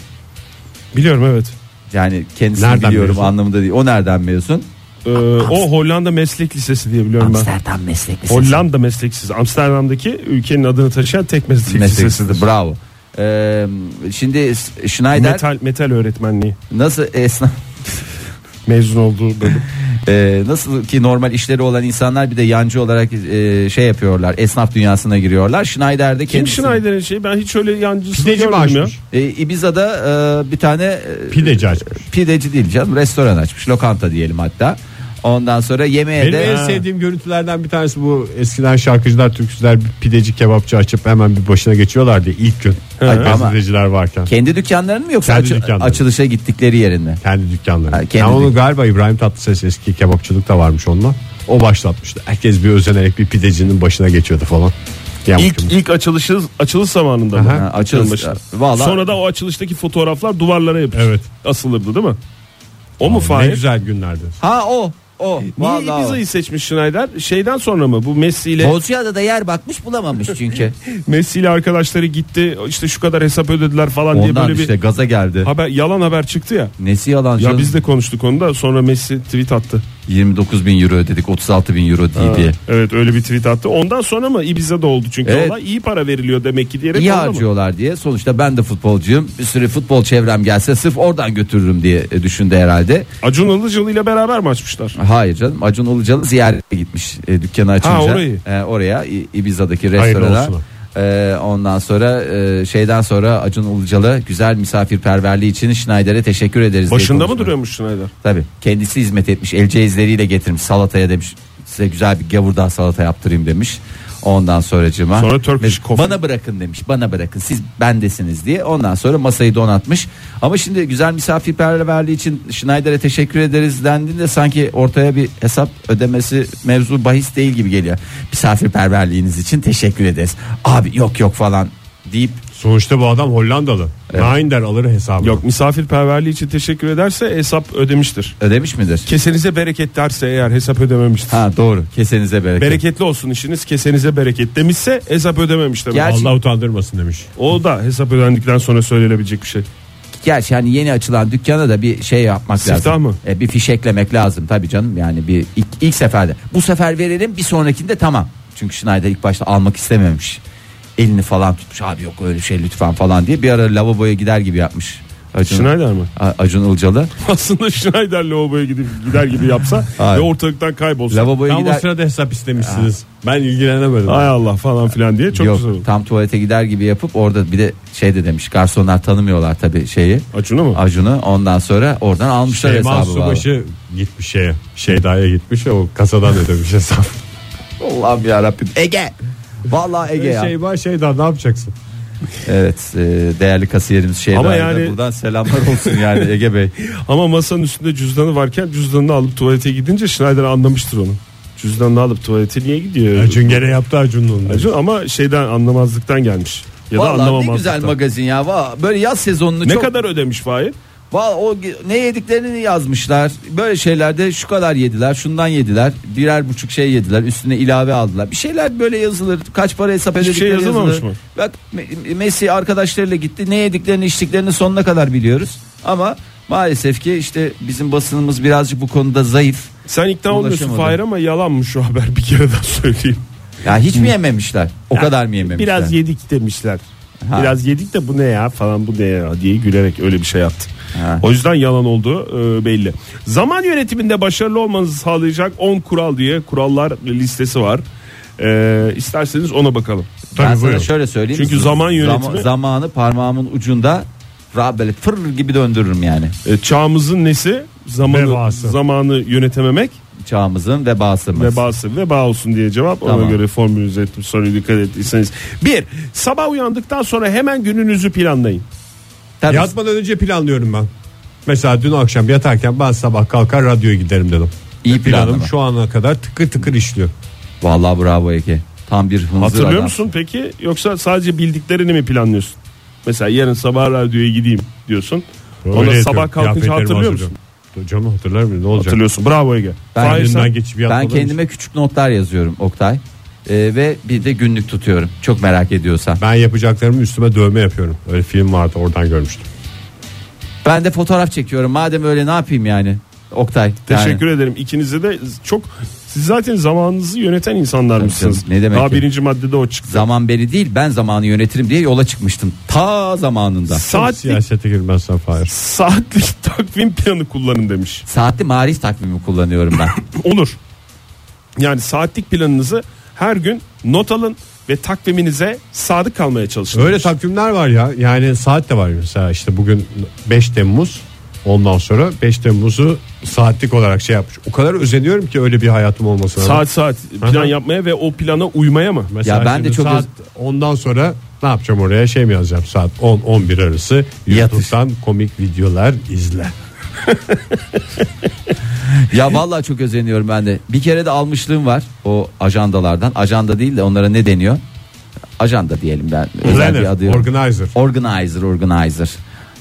Speaker 4: Biliyorum evet.
Speaker 2: Yani kendisini
Speaker 3: Nereden
Speaker 2: biliyorum
Speaker 3: mezun?
Speaker 2: anlamında değil. O nereden mezun?
Speaker 4: Ee, o Hollanda Meslek Lisesi diye biliyorum ben.
Speaker 2: Amsterdam meslek lisesi.
Speaker 4: Hollanda Meslek Lisesi. Amsterdam'daki ülkenin adını taşıyan tek meslek,
Speaker 2: meslek
Speaker 4: lisesidir.
Speaker 2: lisesi. Bravo. Ee, şimdi Schneider
Speaker 4: Metal, metal öğretmenliği
Speaker 2: nasıl e, esnaf
Speaker 4: mezun olduğu bölüm.
Speaker 2: Ee, nasıl ki normal işleri olan insanlar bir de yancı olarak e, şey yapıyorlar esnaf dünyasına giriyorlar. Schneider de
Speaker 4: Kim
Speaker 2: kendisi.
Speaker 4: Schneider'in şeyi ben hiç öyle yancısını
Speaker 3: Pideci mi
Speaker 4: görmedim ya.
Speaker 3: açmış?
Speaker 2: E, Ibiza'da e, bir tane e,
Speaker 3: Pideci açmış.
Speaker 2: pideci değil canım restoran açmış lokanta diyelim hatta. Ondan sonra yemeğe
Speaker 3: Benim
Speaker 2: de
Speaker 3: en sevdiğim görüntülerden bir tanesi bu eskiden şarkıcılar, türkücüler bir pideci kebapçı açıp hemen bir başına geçiyorlardı ilk gün.
Speaker 2: Ay, ama-
Speaker 3: Gazeteciler varken.
Speaker 2: kendi dükkanlarının mı yoksa
Speaker 3: Kendi
Speaker 2: açı-
Speaker 3: dükkanları.
Speaker 2: açılışa gittikleri yerin mi?
Speaker 3: Kendi dükkanları.
Speaker 2: Ha,
Speaker 3: Ha,
Speaker 2: kendi
Speaker 3: onu
Speaker 2: dük-
Speaker 3: galiba İbrahim Tatlıses eski kebapçılık da varmış onunla. O başlatmıştı. Herkes bir özenerek bir pidecinin başına geçiyordu falan. Yani
Speaker 4: İlk, ilk açılışı, açılış zamanında mı?
Speaker 3: Aha.
Speaker 2: Ha, açılış-
Speaker 4: Yılbaşı.
Speaker 2: Vallahi-
Speaker 4: Sonra da o açılıştaki fotoğraflar duvarlara yapışır.
Speaker 3: Evet.
Speaker 4: Asılırdı değil mi? O mu
Speaker 3: ne
Speaker 4: Fahir?
Speaker 3: güzel günlerdi.
Speaker 2: Ha o o.
Speaker 4: Niye
Speaker 2: Vallahi o.
Speaker 4: Ibiza'yı seçmiş Schneider? Şeyden sonra mı? Bu Messi ile
Speaker 2: Bozcaada'da da yer bakmış bulamamış çünkü.
Speaker 4: Messi ile arkadaşları gitti. İşte şu kadar hesap ödediler falan diye
Speaker 2: [laughs] Ondan
Speaker 4: böyle
Speaker 2: işte
Speaker 4: bir
Speaker 2: gaza geldi.
Speaker 4: haber yalan haber çıktı ya.
Speaker 2: Nesi yalan
Speaker 4: Ya
Speaker 2: canım?
Speaker 4: biz de konuştuk onu da sonra Messi tweet attı.
Speaker 2: 29 bin euro ödedik 36 bin euro değil diye.
Speaker 4: Evet öyle bir tweet attı. Ondan sonra mı Ibiza'da oldu çünkü
Speaker 2: Evet.
Speaker 4: olay iyi para veriliyor demek ki diyerek
Speaker 2: İyi
Speaker 4: oldu mu?
Speaker 2: harcıyorlar diye. Sonuçta ben de futbolcuyum. Bir sürü futbol çevrem gelse sırf oradan götürürüm diye e, düşündü herhalde.
Speaker 4: Acun Ilıcalı ile beraber mi açmışlar?
Speaker 2: Hayır canım. Acun Ilıcalı ziyarete gitmiş e, dükkanı açınca.
Speaker 4: orayı.
Speaker 2: E, oraya İ- Ibiza'daki
Speaker 3: Hayırlı
Speaker 2: restorana.
Speaker 3: olsun.
Speaker 2: E, ondan sonra e, şeyden sonra Acun Ilıcalı güzel misafirperverliği için Schneider'e teşekkür ederiz. diye
Speaker 4: Başında mı
Speaker 2: konuşmuş.
Speaker 4: duruyormuş Schneider?
Speaker 2: Tabii. Kendisi hizmet etmiş. El cehizleriyle getirmiş. Salataya demiş. Size güzel bir gavurdağı salata yaptırayım demiş. Ondan sonracığıma
Speaker 4: Sonra Turkish coffee.
Speaker 2: bana bırakın demiş. Bana bırakın. Siz bendesiniz diye. Ondan sonra masayı donatmış. Ama şimdi güzel misafirperverliği için Schneider'e teşekkür ederiz dendiğinde sanki ortaya bir hesap ödemesi mevzu bahis değil gibi geliyor. Misafirperverliğiniz için teşekkür ederiz. Abi yok yok falan deyip
Speaker 3: Sonuçta bu adam Hollandalı. Nainder alır hesabı.
Speaker 4: Yok misafirperverliği için teşekkür ederse hesap ödemiştir.
Speaker 2: Ödemiş midir?
Speaker 4: Kesenize bereket derse eğer hesap ödememiştir.
Speaker 2: Ha doğru. Kesenize bereket.
Speaker 4: Bereketli olsun işiniz kesenize bereket demişse hesap ödememiş demek.
Speaker 2: Gerçi-
Speaker 3: Allah utandırmasın demiş.
Speaker 4: O da hesap ödendikten sonra söylenebilecek bir şey.
Speaker 2: Gerçi hani yeni açılan dükkana da bir şey yapmak
Speaker 4: Siftah
Speaker 2: lazım.
Speaker 4: mı?
Speaker 2: E, bir fişeklemek lazım tabii canım. Yani bir ilk, ilk seferde. Bu sefer verelim bir sonrakinde tamam. Çünkü Schneider ilk başta almak istememiş. Elini falan tutmuş abi yok öyle şey lütfen falan diye. Bir ara lavaboya gider gibi yapmış. Acun,
Speaker 4: Schneider mi?
Speaker 2: A- Acun Ilıcalı.
Speaker 4: [laughs] Aslında Schneider lavaboya gidip gider
Speaker 3: [laughs]
Speaker 4: gibi yapsa
Speaker 2: Hayır.
Speaker 4: ve ortalıktan kaybolsa.
Speaker 2: Lavaboya
Speaker 3: Tam o
Speaker 2: gider.
Speaker 3: sırada hesap istemişsiniz. Ben ilgilenemedim.
Speaker 4: Hay Allah falan filan diye çok
Speaker 2: yok
Speaker 4: güzel olur.
Speaker 2: tam tuvalete gider gibi yapıp orada bir de şey de demiş garsonlar tanımıyorlar tabii şeyi.
Speaker 4: Acun'u mu?
Speaker 2: Acun'u ondan sonra oradan almışlar
Speaker 3: Şey,
Speaker 2: hesabı.
Speaker 3: Mansur
Speaker 2: vallahi.
Speaker 3: Başı gitmiş şeye. Şeyda'ya gitmiş o kasadan ödemiş
Speaker 4: [laughs]
Speaker 3: hesap.
Speaker 2: Allah'ım ya Rabbim. Ege. Vallahi Ege ya.
Speaker 3: Şeyba Şeyda ne yapacaksın?
Speaker 2: Evet, e, değerli kasiyerimiz şey
Speaker 4: Ama
Speaker 2: Ama
Speaker 4: yani-
Speaker 2: buradan selamlar olsun yani
Speaker 4: [laughs]
Speaker 2: Ege Bey.
Speaker 4: Ama masanın üstünde cüzdanı varken cüzdanını alıp tuvalete gidince Schneider anlamıştır onu. Cüzdanını alıp tuvalete niye gidiyor?
Speaker 3: Acun gene yaptı Acun'un.
Speaker 4: Acun ama şeyden anlamazlıktan gelmiş. Ya da
Speaker 2: Vallahi ne
Speaker 4: anlamamazlıktan.
Speaker 2: güzel magazin ya. Va- Böyle yaz sezonunu
Speaker 4: Ne
Speaker 2: çok
Speaker 4: kadar ödemiş Fahir?
Speaker 2: Va- o ge- ne yediklerini yazmışlar. Böyle şeylerde şu kadar yediler, şundan yediler. Birer buçuk şey yediler. Üstüne ilave aldılar. Bir şeyler böyle yazılır. Kaç para hesap
Speaker 4: Hiçbir
Speaker 2: edildikleri
Speaker 4: şey yazılmamış
Speaker 2: yazılır.
Speaker 4: mı?
Speaker 2: Bak Me- Messi arkadaşlarıyla gitti. Ne yediklerini, içtiklerini sonuna kadar biliyoruz. Ama maalesef ki işte bizim basınımız birazcık bu konuda zayıf.
Speaker 4: Sen ikna olmuyorsun
Speaker 2: Ulaşamadım.
Speaker 4: Fahir ama yalanmış şu haber bir kere daha söyleyeyim.
Speaker 2: Ya hiç mi yememişler? O kadar mı yememişler?
Speaker 4: Biraz yedik demişler.
Speaker 2: Ha.
Speaker 4: Biraz yedik de bu ne ya falan bu ne ya diye gülerek öyle bir şey yaptı.
Speaker 2: Ha.
Speaker 4: O yüzden yalan olduğu e, belli. Zaman yönetiminde başarılı olmanızı sağlayacak 10 kural diye kurallar listesi var. E, isterseniz ona bakalım.
Speaker 2: ben
Speaker 3: Tabii
Speaker 2: sana
Speaker 3: buyurun.
Speaker 2: şöyle söyleyeyim.
Speaker 4: Çünkü zaman yönetimi-
Speaker 2: zamanı parmağımın ucunda ra- böyle fır gibi döndürürüm yani.
Speaker 4: E, çağımızın nesi? Zamanı,
Speaker 3: Vebası.
Speaker 4: zamanı yönetememek
Speaker 2: Çağımızın vebasımız.
Speaker 4: vebası veba olsun diye cevap ona
Speaker 2: Tamam.
Speaker 4: göre formülüze ettim soruyu dikkat ettiyseniz. Bir sabah uyandıktan sonra hemen gününüzü planlayın.
Speaker 2: Tabii.
Speaker 3: Yatmadan önce planlıyorum ben. Mesela dün akşam yatarken ben sabah kalkar radyoya giderim dedim.
Speaker 2: İyi planlama.
Speaker 3: Planım şu ana kadar tıkır tıkır işliyor.
Speaker 2: Vallahi bravo Ege. Tam bir hınzır
Speaker 4: Hatırlıyor
Speaker 2: adam.
Speaker 4: musun peki yoksa sadece bildiklerini mi planlıyorsun? Mesela yarın sabah radyoya gideyim diyorsun. Ona
Speaker 3: Öyle
Speaker 4: sabah
Speaker 3: yapıyorum.
Speaker 4: kalkınca
Speaker 3: Kıyafetlerimi
Speaker 4: hatırlıyor musun?
Speaker 3: hazırlıyorum. Canım hatırlar mı? Ne olacak?
Speaker 4: Hatırlıyorsun. Bravo Ege.
Speaker 2: Ben-
Speaker 4: Fahir sen-
Speaker 3: Önünden geçip
Speaker 2: Ben
Speaker 3: yatmadan
Speaker 2: kendime küçük notlar yazıyorum Oktay. Ee, ve bir de günlük tutuyorum. Çok merak ediyorsan.
Speaker 3: Ben yapacaklarımı üstüme dövme yapıyorum. Öyle film vardı oradan görmüştüm.
Speaker 2: Ben de fotoğraf çekiyorum. Madem öyle ne yapayım yani? Oktay.
Speaker 4: Teşekkür ederim. İkinize de çok siz zaten zamanınızı yöneten insanlar mısınız?
Speaker 2: canım, ne demek
Speaker 4: Daha
Speaker 2: ki?
Speaker 4: birinci maddede o çıktı.
Speaker 2: Zaman beni değil ben zamanı yönetirim diye yola çıkmıştım. Ta zamanında.
Speaker 3: Saat
Speaker 4: Saatlik,
Speaker 3: siyasete girmezsen Fahir.
Speaker 4: saatlik [laughs] takvim planı kullanın demiş.
Speaker 2: Saatli marif takvimi
Speaker 4: [laughs]
Speaker 2: kullanıyorum ben.
Speaker 4: Olur. Yani saatlik planınızı her gün not alın ve takviminize sadık kalmaya çalışın.
Speaker 3: Öyle
Speaker 4: demiş.
Speaker 3: takvimler var ya. Yani saat de var mesela işte bugün 5 Temmuz. Ondan sonra 5 Temmuz'u saatlik olarak şey yapmış. O kadar özeniyorum ki öyle bir hayatım olmasına.
Speaker 4: saat saat plan
Speaker 3: Aha.
Speaker 4: yapmaya ve o plana uymaya mı?
Speaker 3: Mesela
Speaker 2: Ya ben de
Speaker 3: şimdi
Speaker 2: çok
Speaker 3: saat ondan sonra ne yapacağım oraya şey mi yazacağım saat 10 11 arası YouTube'dan komik videolar izle.
Speaker 2: Ya vallahi çok özeniyorum ben de. Bir kere de almışlığım var o ajandalardan. Ajanda değil de onlara ne deniyor? Ajanda diyelim ben. Özel bir adı
Speaker 3: Planner,
Speaker 2: yok.
Speaker 3: organizer.
Speaker 2: organizer, organizer.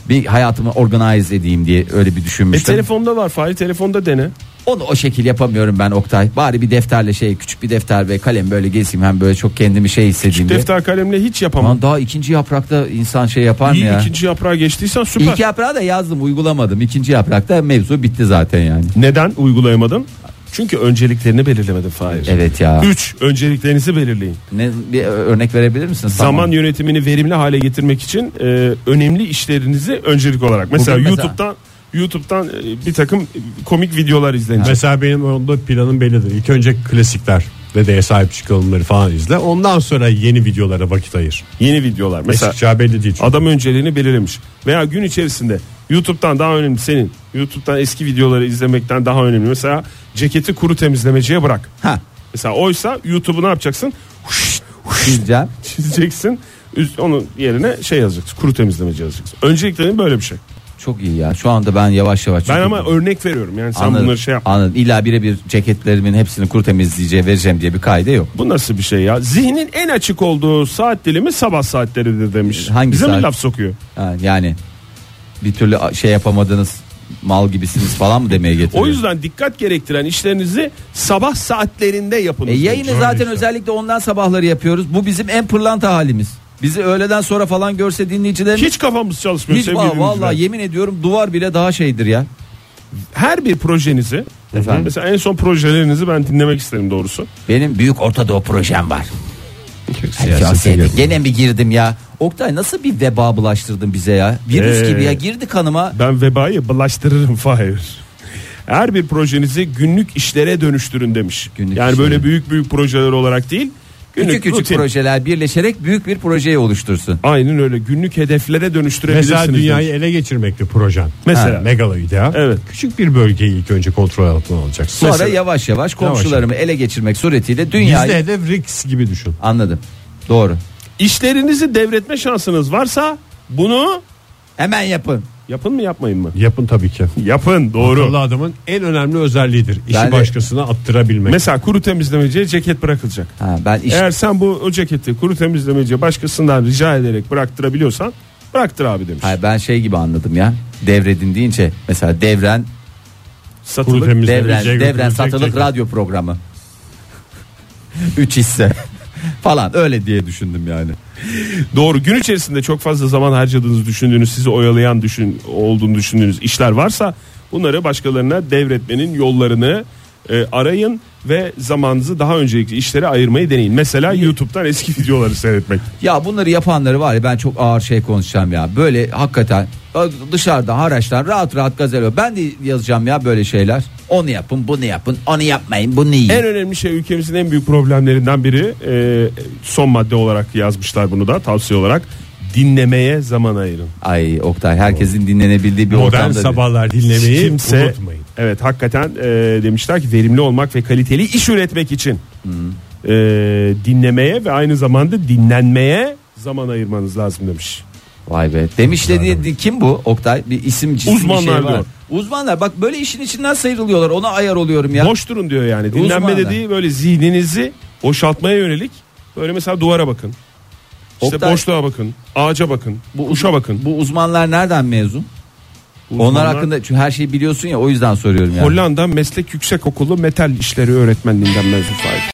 Speaker 2: Bir hayatımı organize edeyim diye öyle bir
Speaker 4: E
Speaker 2: düşünmüştüm.
Speaker 4: telefonda var Fahri telefonda dene.
Speaker 2: Onu o şekil yapamıyorum ben Oktay. Bari bir defterle şey küçük bir defter ve kalem böyle gezeyim hem böyle çok kendimi şey hissedeyim diye.
Speaker 4: Defter kalemle hiç yapamam.
Speaker 2: Lan daha ikinci yaprakta insan şey yapar mı
Speaker 4: İyi
Speaker 2: ya?
Speaker 4: ikinci yaprağa geçtiysen süper.
Speaker 2: İlk yaprağı da yazdım uygulamadım. İkinci yaprakta mevzu bitti zaten yani.
Speaker 4: Neden uygulayamadın? Çünkü önceliklerini belirlemedin Fahir.
Speaker 2: Evet ya.
Speaker 4: 3. Önceliklerinizi belirleyin.
Speaker 2: Ne, bir örnek verebilir misin?
Speaker 4: Zaman yönetimini verimli hale getirmek için e, önemli işlerinizi öncelik olarak. Mesela
Speaker 2: Bugün mesela-
Speaker 4: YouTube'dan YouTube'dan e, bir takım komik videolar izlenecek.
Speaker 3: Mesela benim onda planım bellidir. İlk önce klasikler ve de sahip çıkılımları falan izle. Ondan sonra yeni videolara vakit ayır.
Speaker 4: Yeni videolar. Mesela
Speaker 3: Mesela çağ belli değil. çünkü.
Speaker 4: adam önceliğini belirlemiş. Veya gün içerisinde YouTube'dan daha önemli senin YouTube'dan eski videoları izlemekten daha önemli. Mesela ceketi kuru temizlemeciye bırak.
Speaker 2: Ha.
Speaker 4: Mesela oysa YouTube'u ne yapacaksın? Huş, huş [laughs]
Speaker 2: Güzel.
Speaker 4: çizeceksin. Üst, onun yerine şey yazacaksın. Kuru temizlemeci yazacaksın. Önceliklerin böyle bir şey.
Speaker 2: Çok iyi ya. Şu anda ben yavaş yavaş.
Speaker 4: Ben
Speaker 2: çok-
Speaker 4: ama örnek veriyorum yani sen
Speaker 2: Anladım,
Speaker 4: bunları şey yap.
Speaker 2: Anladım. İlla birebir ceketlerimin hepsini kuru temizleyeceğe vereceğim diye bir kaide yok.
Speaker 4: Bu nasıl bir şey ya? Zihnin en açık olduğu saat dilimi sabah saatleridir demiş.
Speaker 2: Ee, Hangi
Speaker 4: Bize mi
Speaker 2: saat?
Speaker 4: laf sokuyor?
Speaker 2: Ha, yani bir türlü a- şey yapamadınız mal gibisiniz falan mı demeye getiriyor.
Speaker 4: O yüzden dikkat gerektiren işlerinizi sabah saatlerinde yapın.
Speaker 2: E, yayını
Speaker 4: demiş.
Speaker 2: zaten özellikle ondan sabahları yapıyoruz. Bu bizim en pırlanta halimiz. Bizi öğleden sonra falan görse dinleyicilerimiz
Speaker 4: Hiç kafamız çalışmıyor
Speaker 2: hiç
Speaker 4: sevgili
Speaker 2: va-
Speaker 4: dinleyiciler.
Speaker 2: vallahi yemin ediyorum duvar bile daha şeydir ya.
Speaker 4: Her bir projenizi
Speaker 2: Efendim?
Speaker 4: mesela en son projelerinizi ben dinlemek isterim doğrusu.
Speaker 2: Benim büyük Orta Doğu projem var.
Speaker 3: Siyasete
Speaker 2: Siyasete
Speaker 3: girdim.
Speaker 2: gene mi girdim ya? Oktay nasıl bir veba bulaştırdın bize ya? Virüs
Speaker 4: Ee,
Speaker 2: gibi ya girdi kanıma.
Speaker 4: Ben vebayı bulaştırırım Fahir. Her bir projenizi günlük işlere dönüştürün demiş.
Speaker 2: Günlük
Speaker 4: yani böyle
Speaker 2: işlere.
Speaker 4: büyük büyük projeler olarak değil. Günlük
Speaker 2: Küçük küçük
Speaker 4: rutin.
Speaker 2: projeler birleşerek büyük bir projeyi oluştursun.
Speaker 4: Aynen öyle günlük hedeflere dönüştürebilirsiniz.
Speaker 3: Mesela dünyayı
Speaker 4: demiş.
Speaker 3: ele geçirmekti projen.
Speaker 4: Mesela.
Speaker 3: Ha, megaloid ya.
Speaker 4: Evet.
Speaker 3: Küçük bir bölgeyi ilk önce kontrol altına alacaksın.
Speaker 2: Sonra
Speaker 3: Mesela
Speaker 2: yavaş yavaş komşularımı ele geçirmek suretiyle dünyayı
Speaker 3: Bizde hedef Rix gibi düşün.
Speaker 2: anladım. Doğru.
Speaker 4: İşlerinizi devretme şansınız varsa bunu
Speaker 2: Hemen yapın.
Speaker 4: yapın mı yapmayın mı?
Speaker 3: Yapın tabii ki.
Speaker 4: Yapın doğru.
Speaker 3: Akıllı adamın en önemli özelliğidir. İşi
Speaker 2: Ben de-
Speaker 3: başkasına attırabilmek.
Speaker 4: Mesela kuru temizlemeciye ceket bırakılacak.
Speaker 2: Ha, ben iş
Speaker 4: Eğer sen bu o ceketi kuru temizlemeciye başkasından rica ederek bıraktırabiliyorsan bıraktır abi demiş.
Speaker 2: Hayır, ben şey gibi anladım ya. Devredin deyince mesela devren
Speaker 4: Satılık.
Speaker 3: Kuru temiz- Biz de
Speaker 2: devren
Speaker 3: bize
Speaker 2: devren
Speaker 3: götürecek
Speaker 2: satılık
Speaker 3: tekrar.
Speaker 2: radyo programı. [laughs] 3 hisse [laughs] falan öyle diye düşündüm yani.
Speaker 4: Doğru gün içerisinde çok fazla zaman harcadığınızı düşündüğünüz sizi oyalayan düşün, olduğunu düşündüğünüz işler varsa bunları başkalarına devretmenin yollarını e, arayın ve zamanınızı daha öncelikli işlere ayırmayı deneyin. Mesela YouTube'dan eski [laughs] videoları seyretmek.
Speaker 2: Ya bunları yapanları var ya ben çok ağır şey konuşacağım ya. Böyle hakikaten dışarıda haraçtan rahat rahat gazelo. Ben de yazacağım ya böyle şeyler. Onu yapın bunu yapın onu yapmayın bunu yiyin.
Speaker 4: En önemli şey ülkemizin en büyük problemlerinden biri e, son madde olarak yazmışlar bunu da tavsiye olarak dinlemeye zaman ayırın.
Speaker 2: Ay Oktay herkesin dinlenebildiği bir
Speaker 3: Modern
Speaker 2: ortamda.
Speaker 3: sabahlar dinlemeyi
Speaker 4: Kimse-
Speaker 3: unutmayın.
Speaker 4: Evet hakikaten e, demişler ki verimli olmak ve kaliteli iş üretmek için e, dinlemeye ve aynı zamanda dinlenmeye zaman ayırmanız lazım demiş.
Speaker 2: Vay be. Demiş dedi kim bu Oktay? Bir isim cismi
Speaker 4: Uzmanlar
Speaker 2: bir şey var.
Speaker 4: diyor.
Speaker 2: Uzmanlar bak böyle işin içinden sıyrılıyorlar. Ona ayar oluyorum ya.
Speaker 4: Boş durun diyor yani. Dinlenme
Speaker 2: Uzmanlar.
Speaker 4: dediği böyle zihninizi boşaltmaya yönelik. Böyle mesela duvara bakın. İşte
Speaker 2: Oktay-
Speaker 4: boşluğa bakın, ağaca bakın,
Speaker 2: Bu uz-
Speaker 4: kuşa bakın.
Speaker 2: Bu uzmanlar nereden mezun?
Speaker 4: Uzmanlar-
Speaker 2: Onlar hakkında çünkü her şeyi biliyorsun ya o yüzden soruyorum yani.
Speaker 4: Hollanda Meslek Yüksekokulu Metal İşleri Öğretmenliğinden mezun sahibi.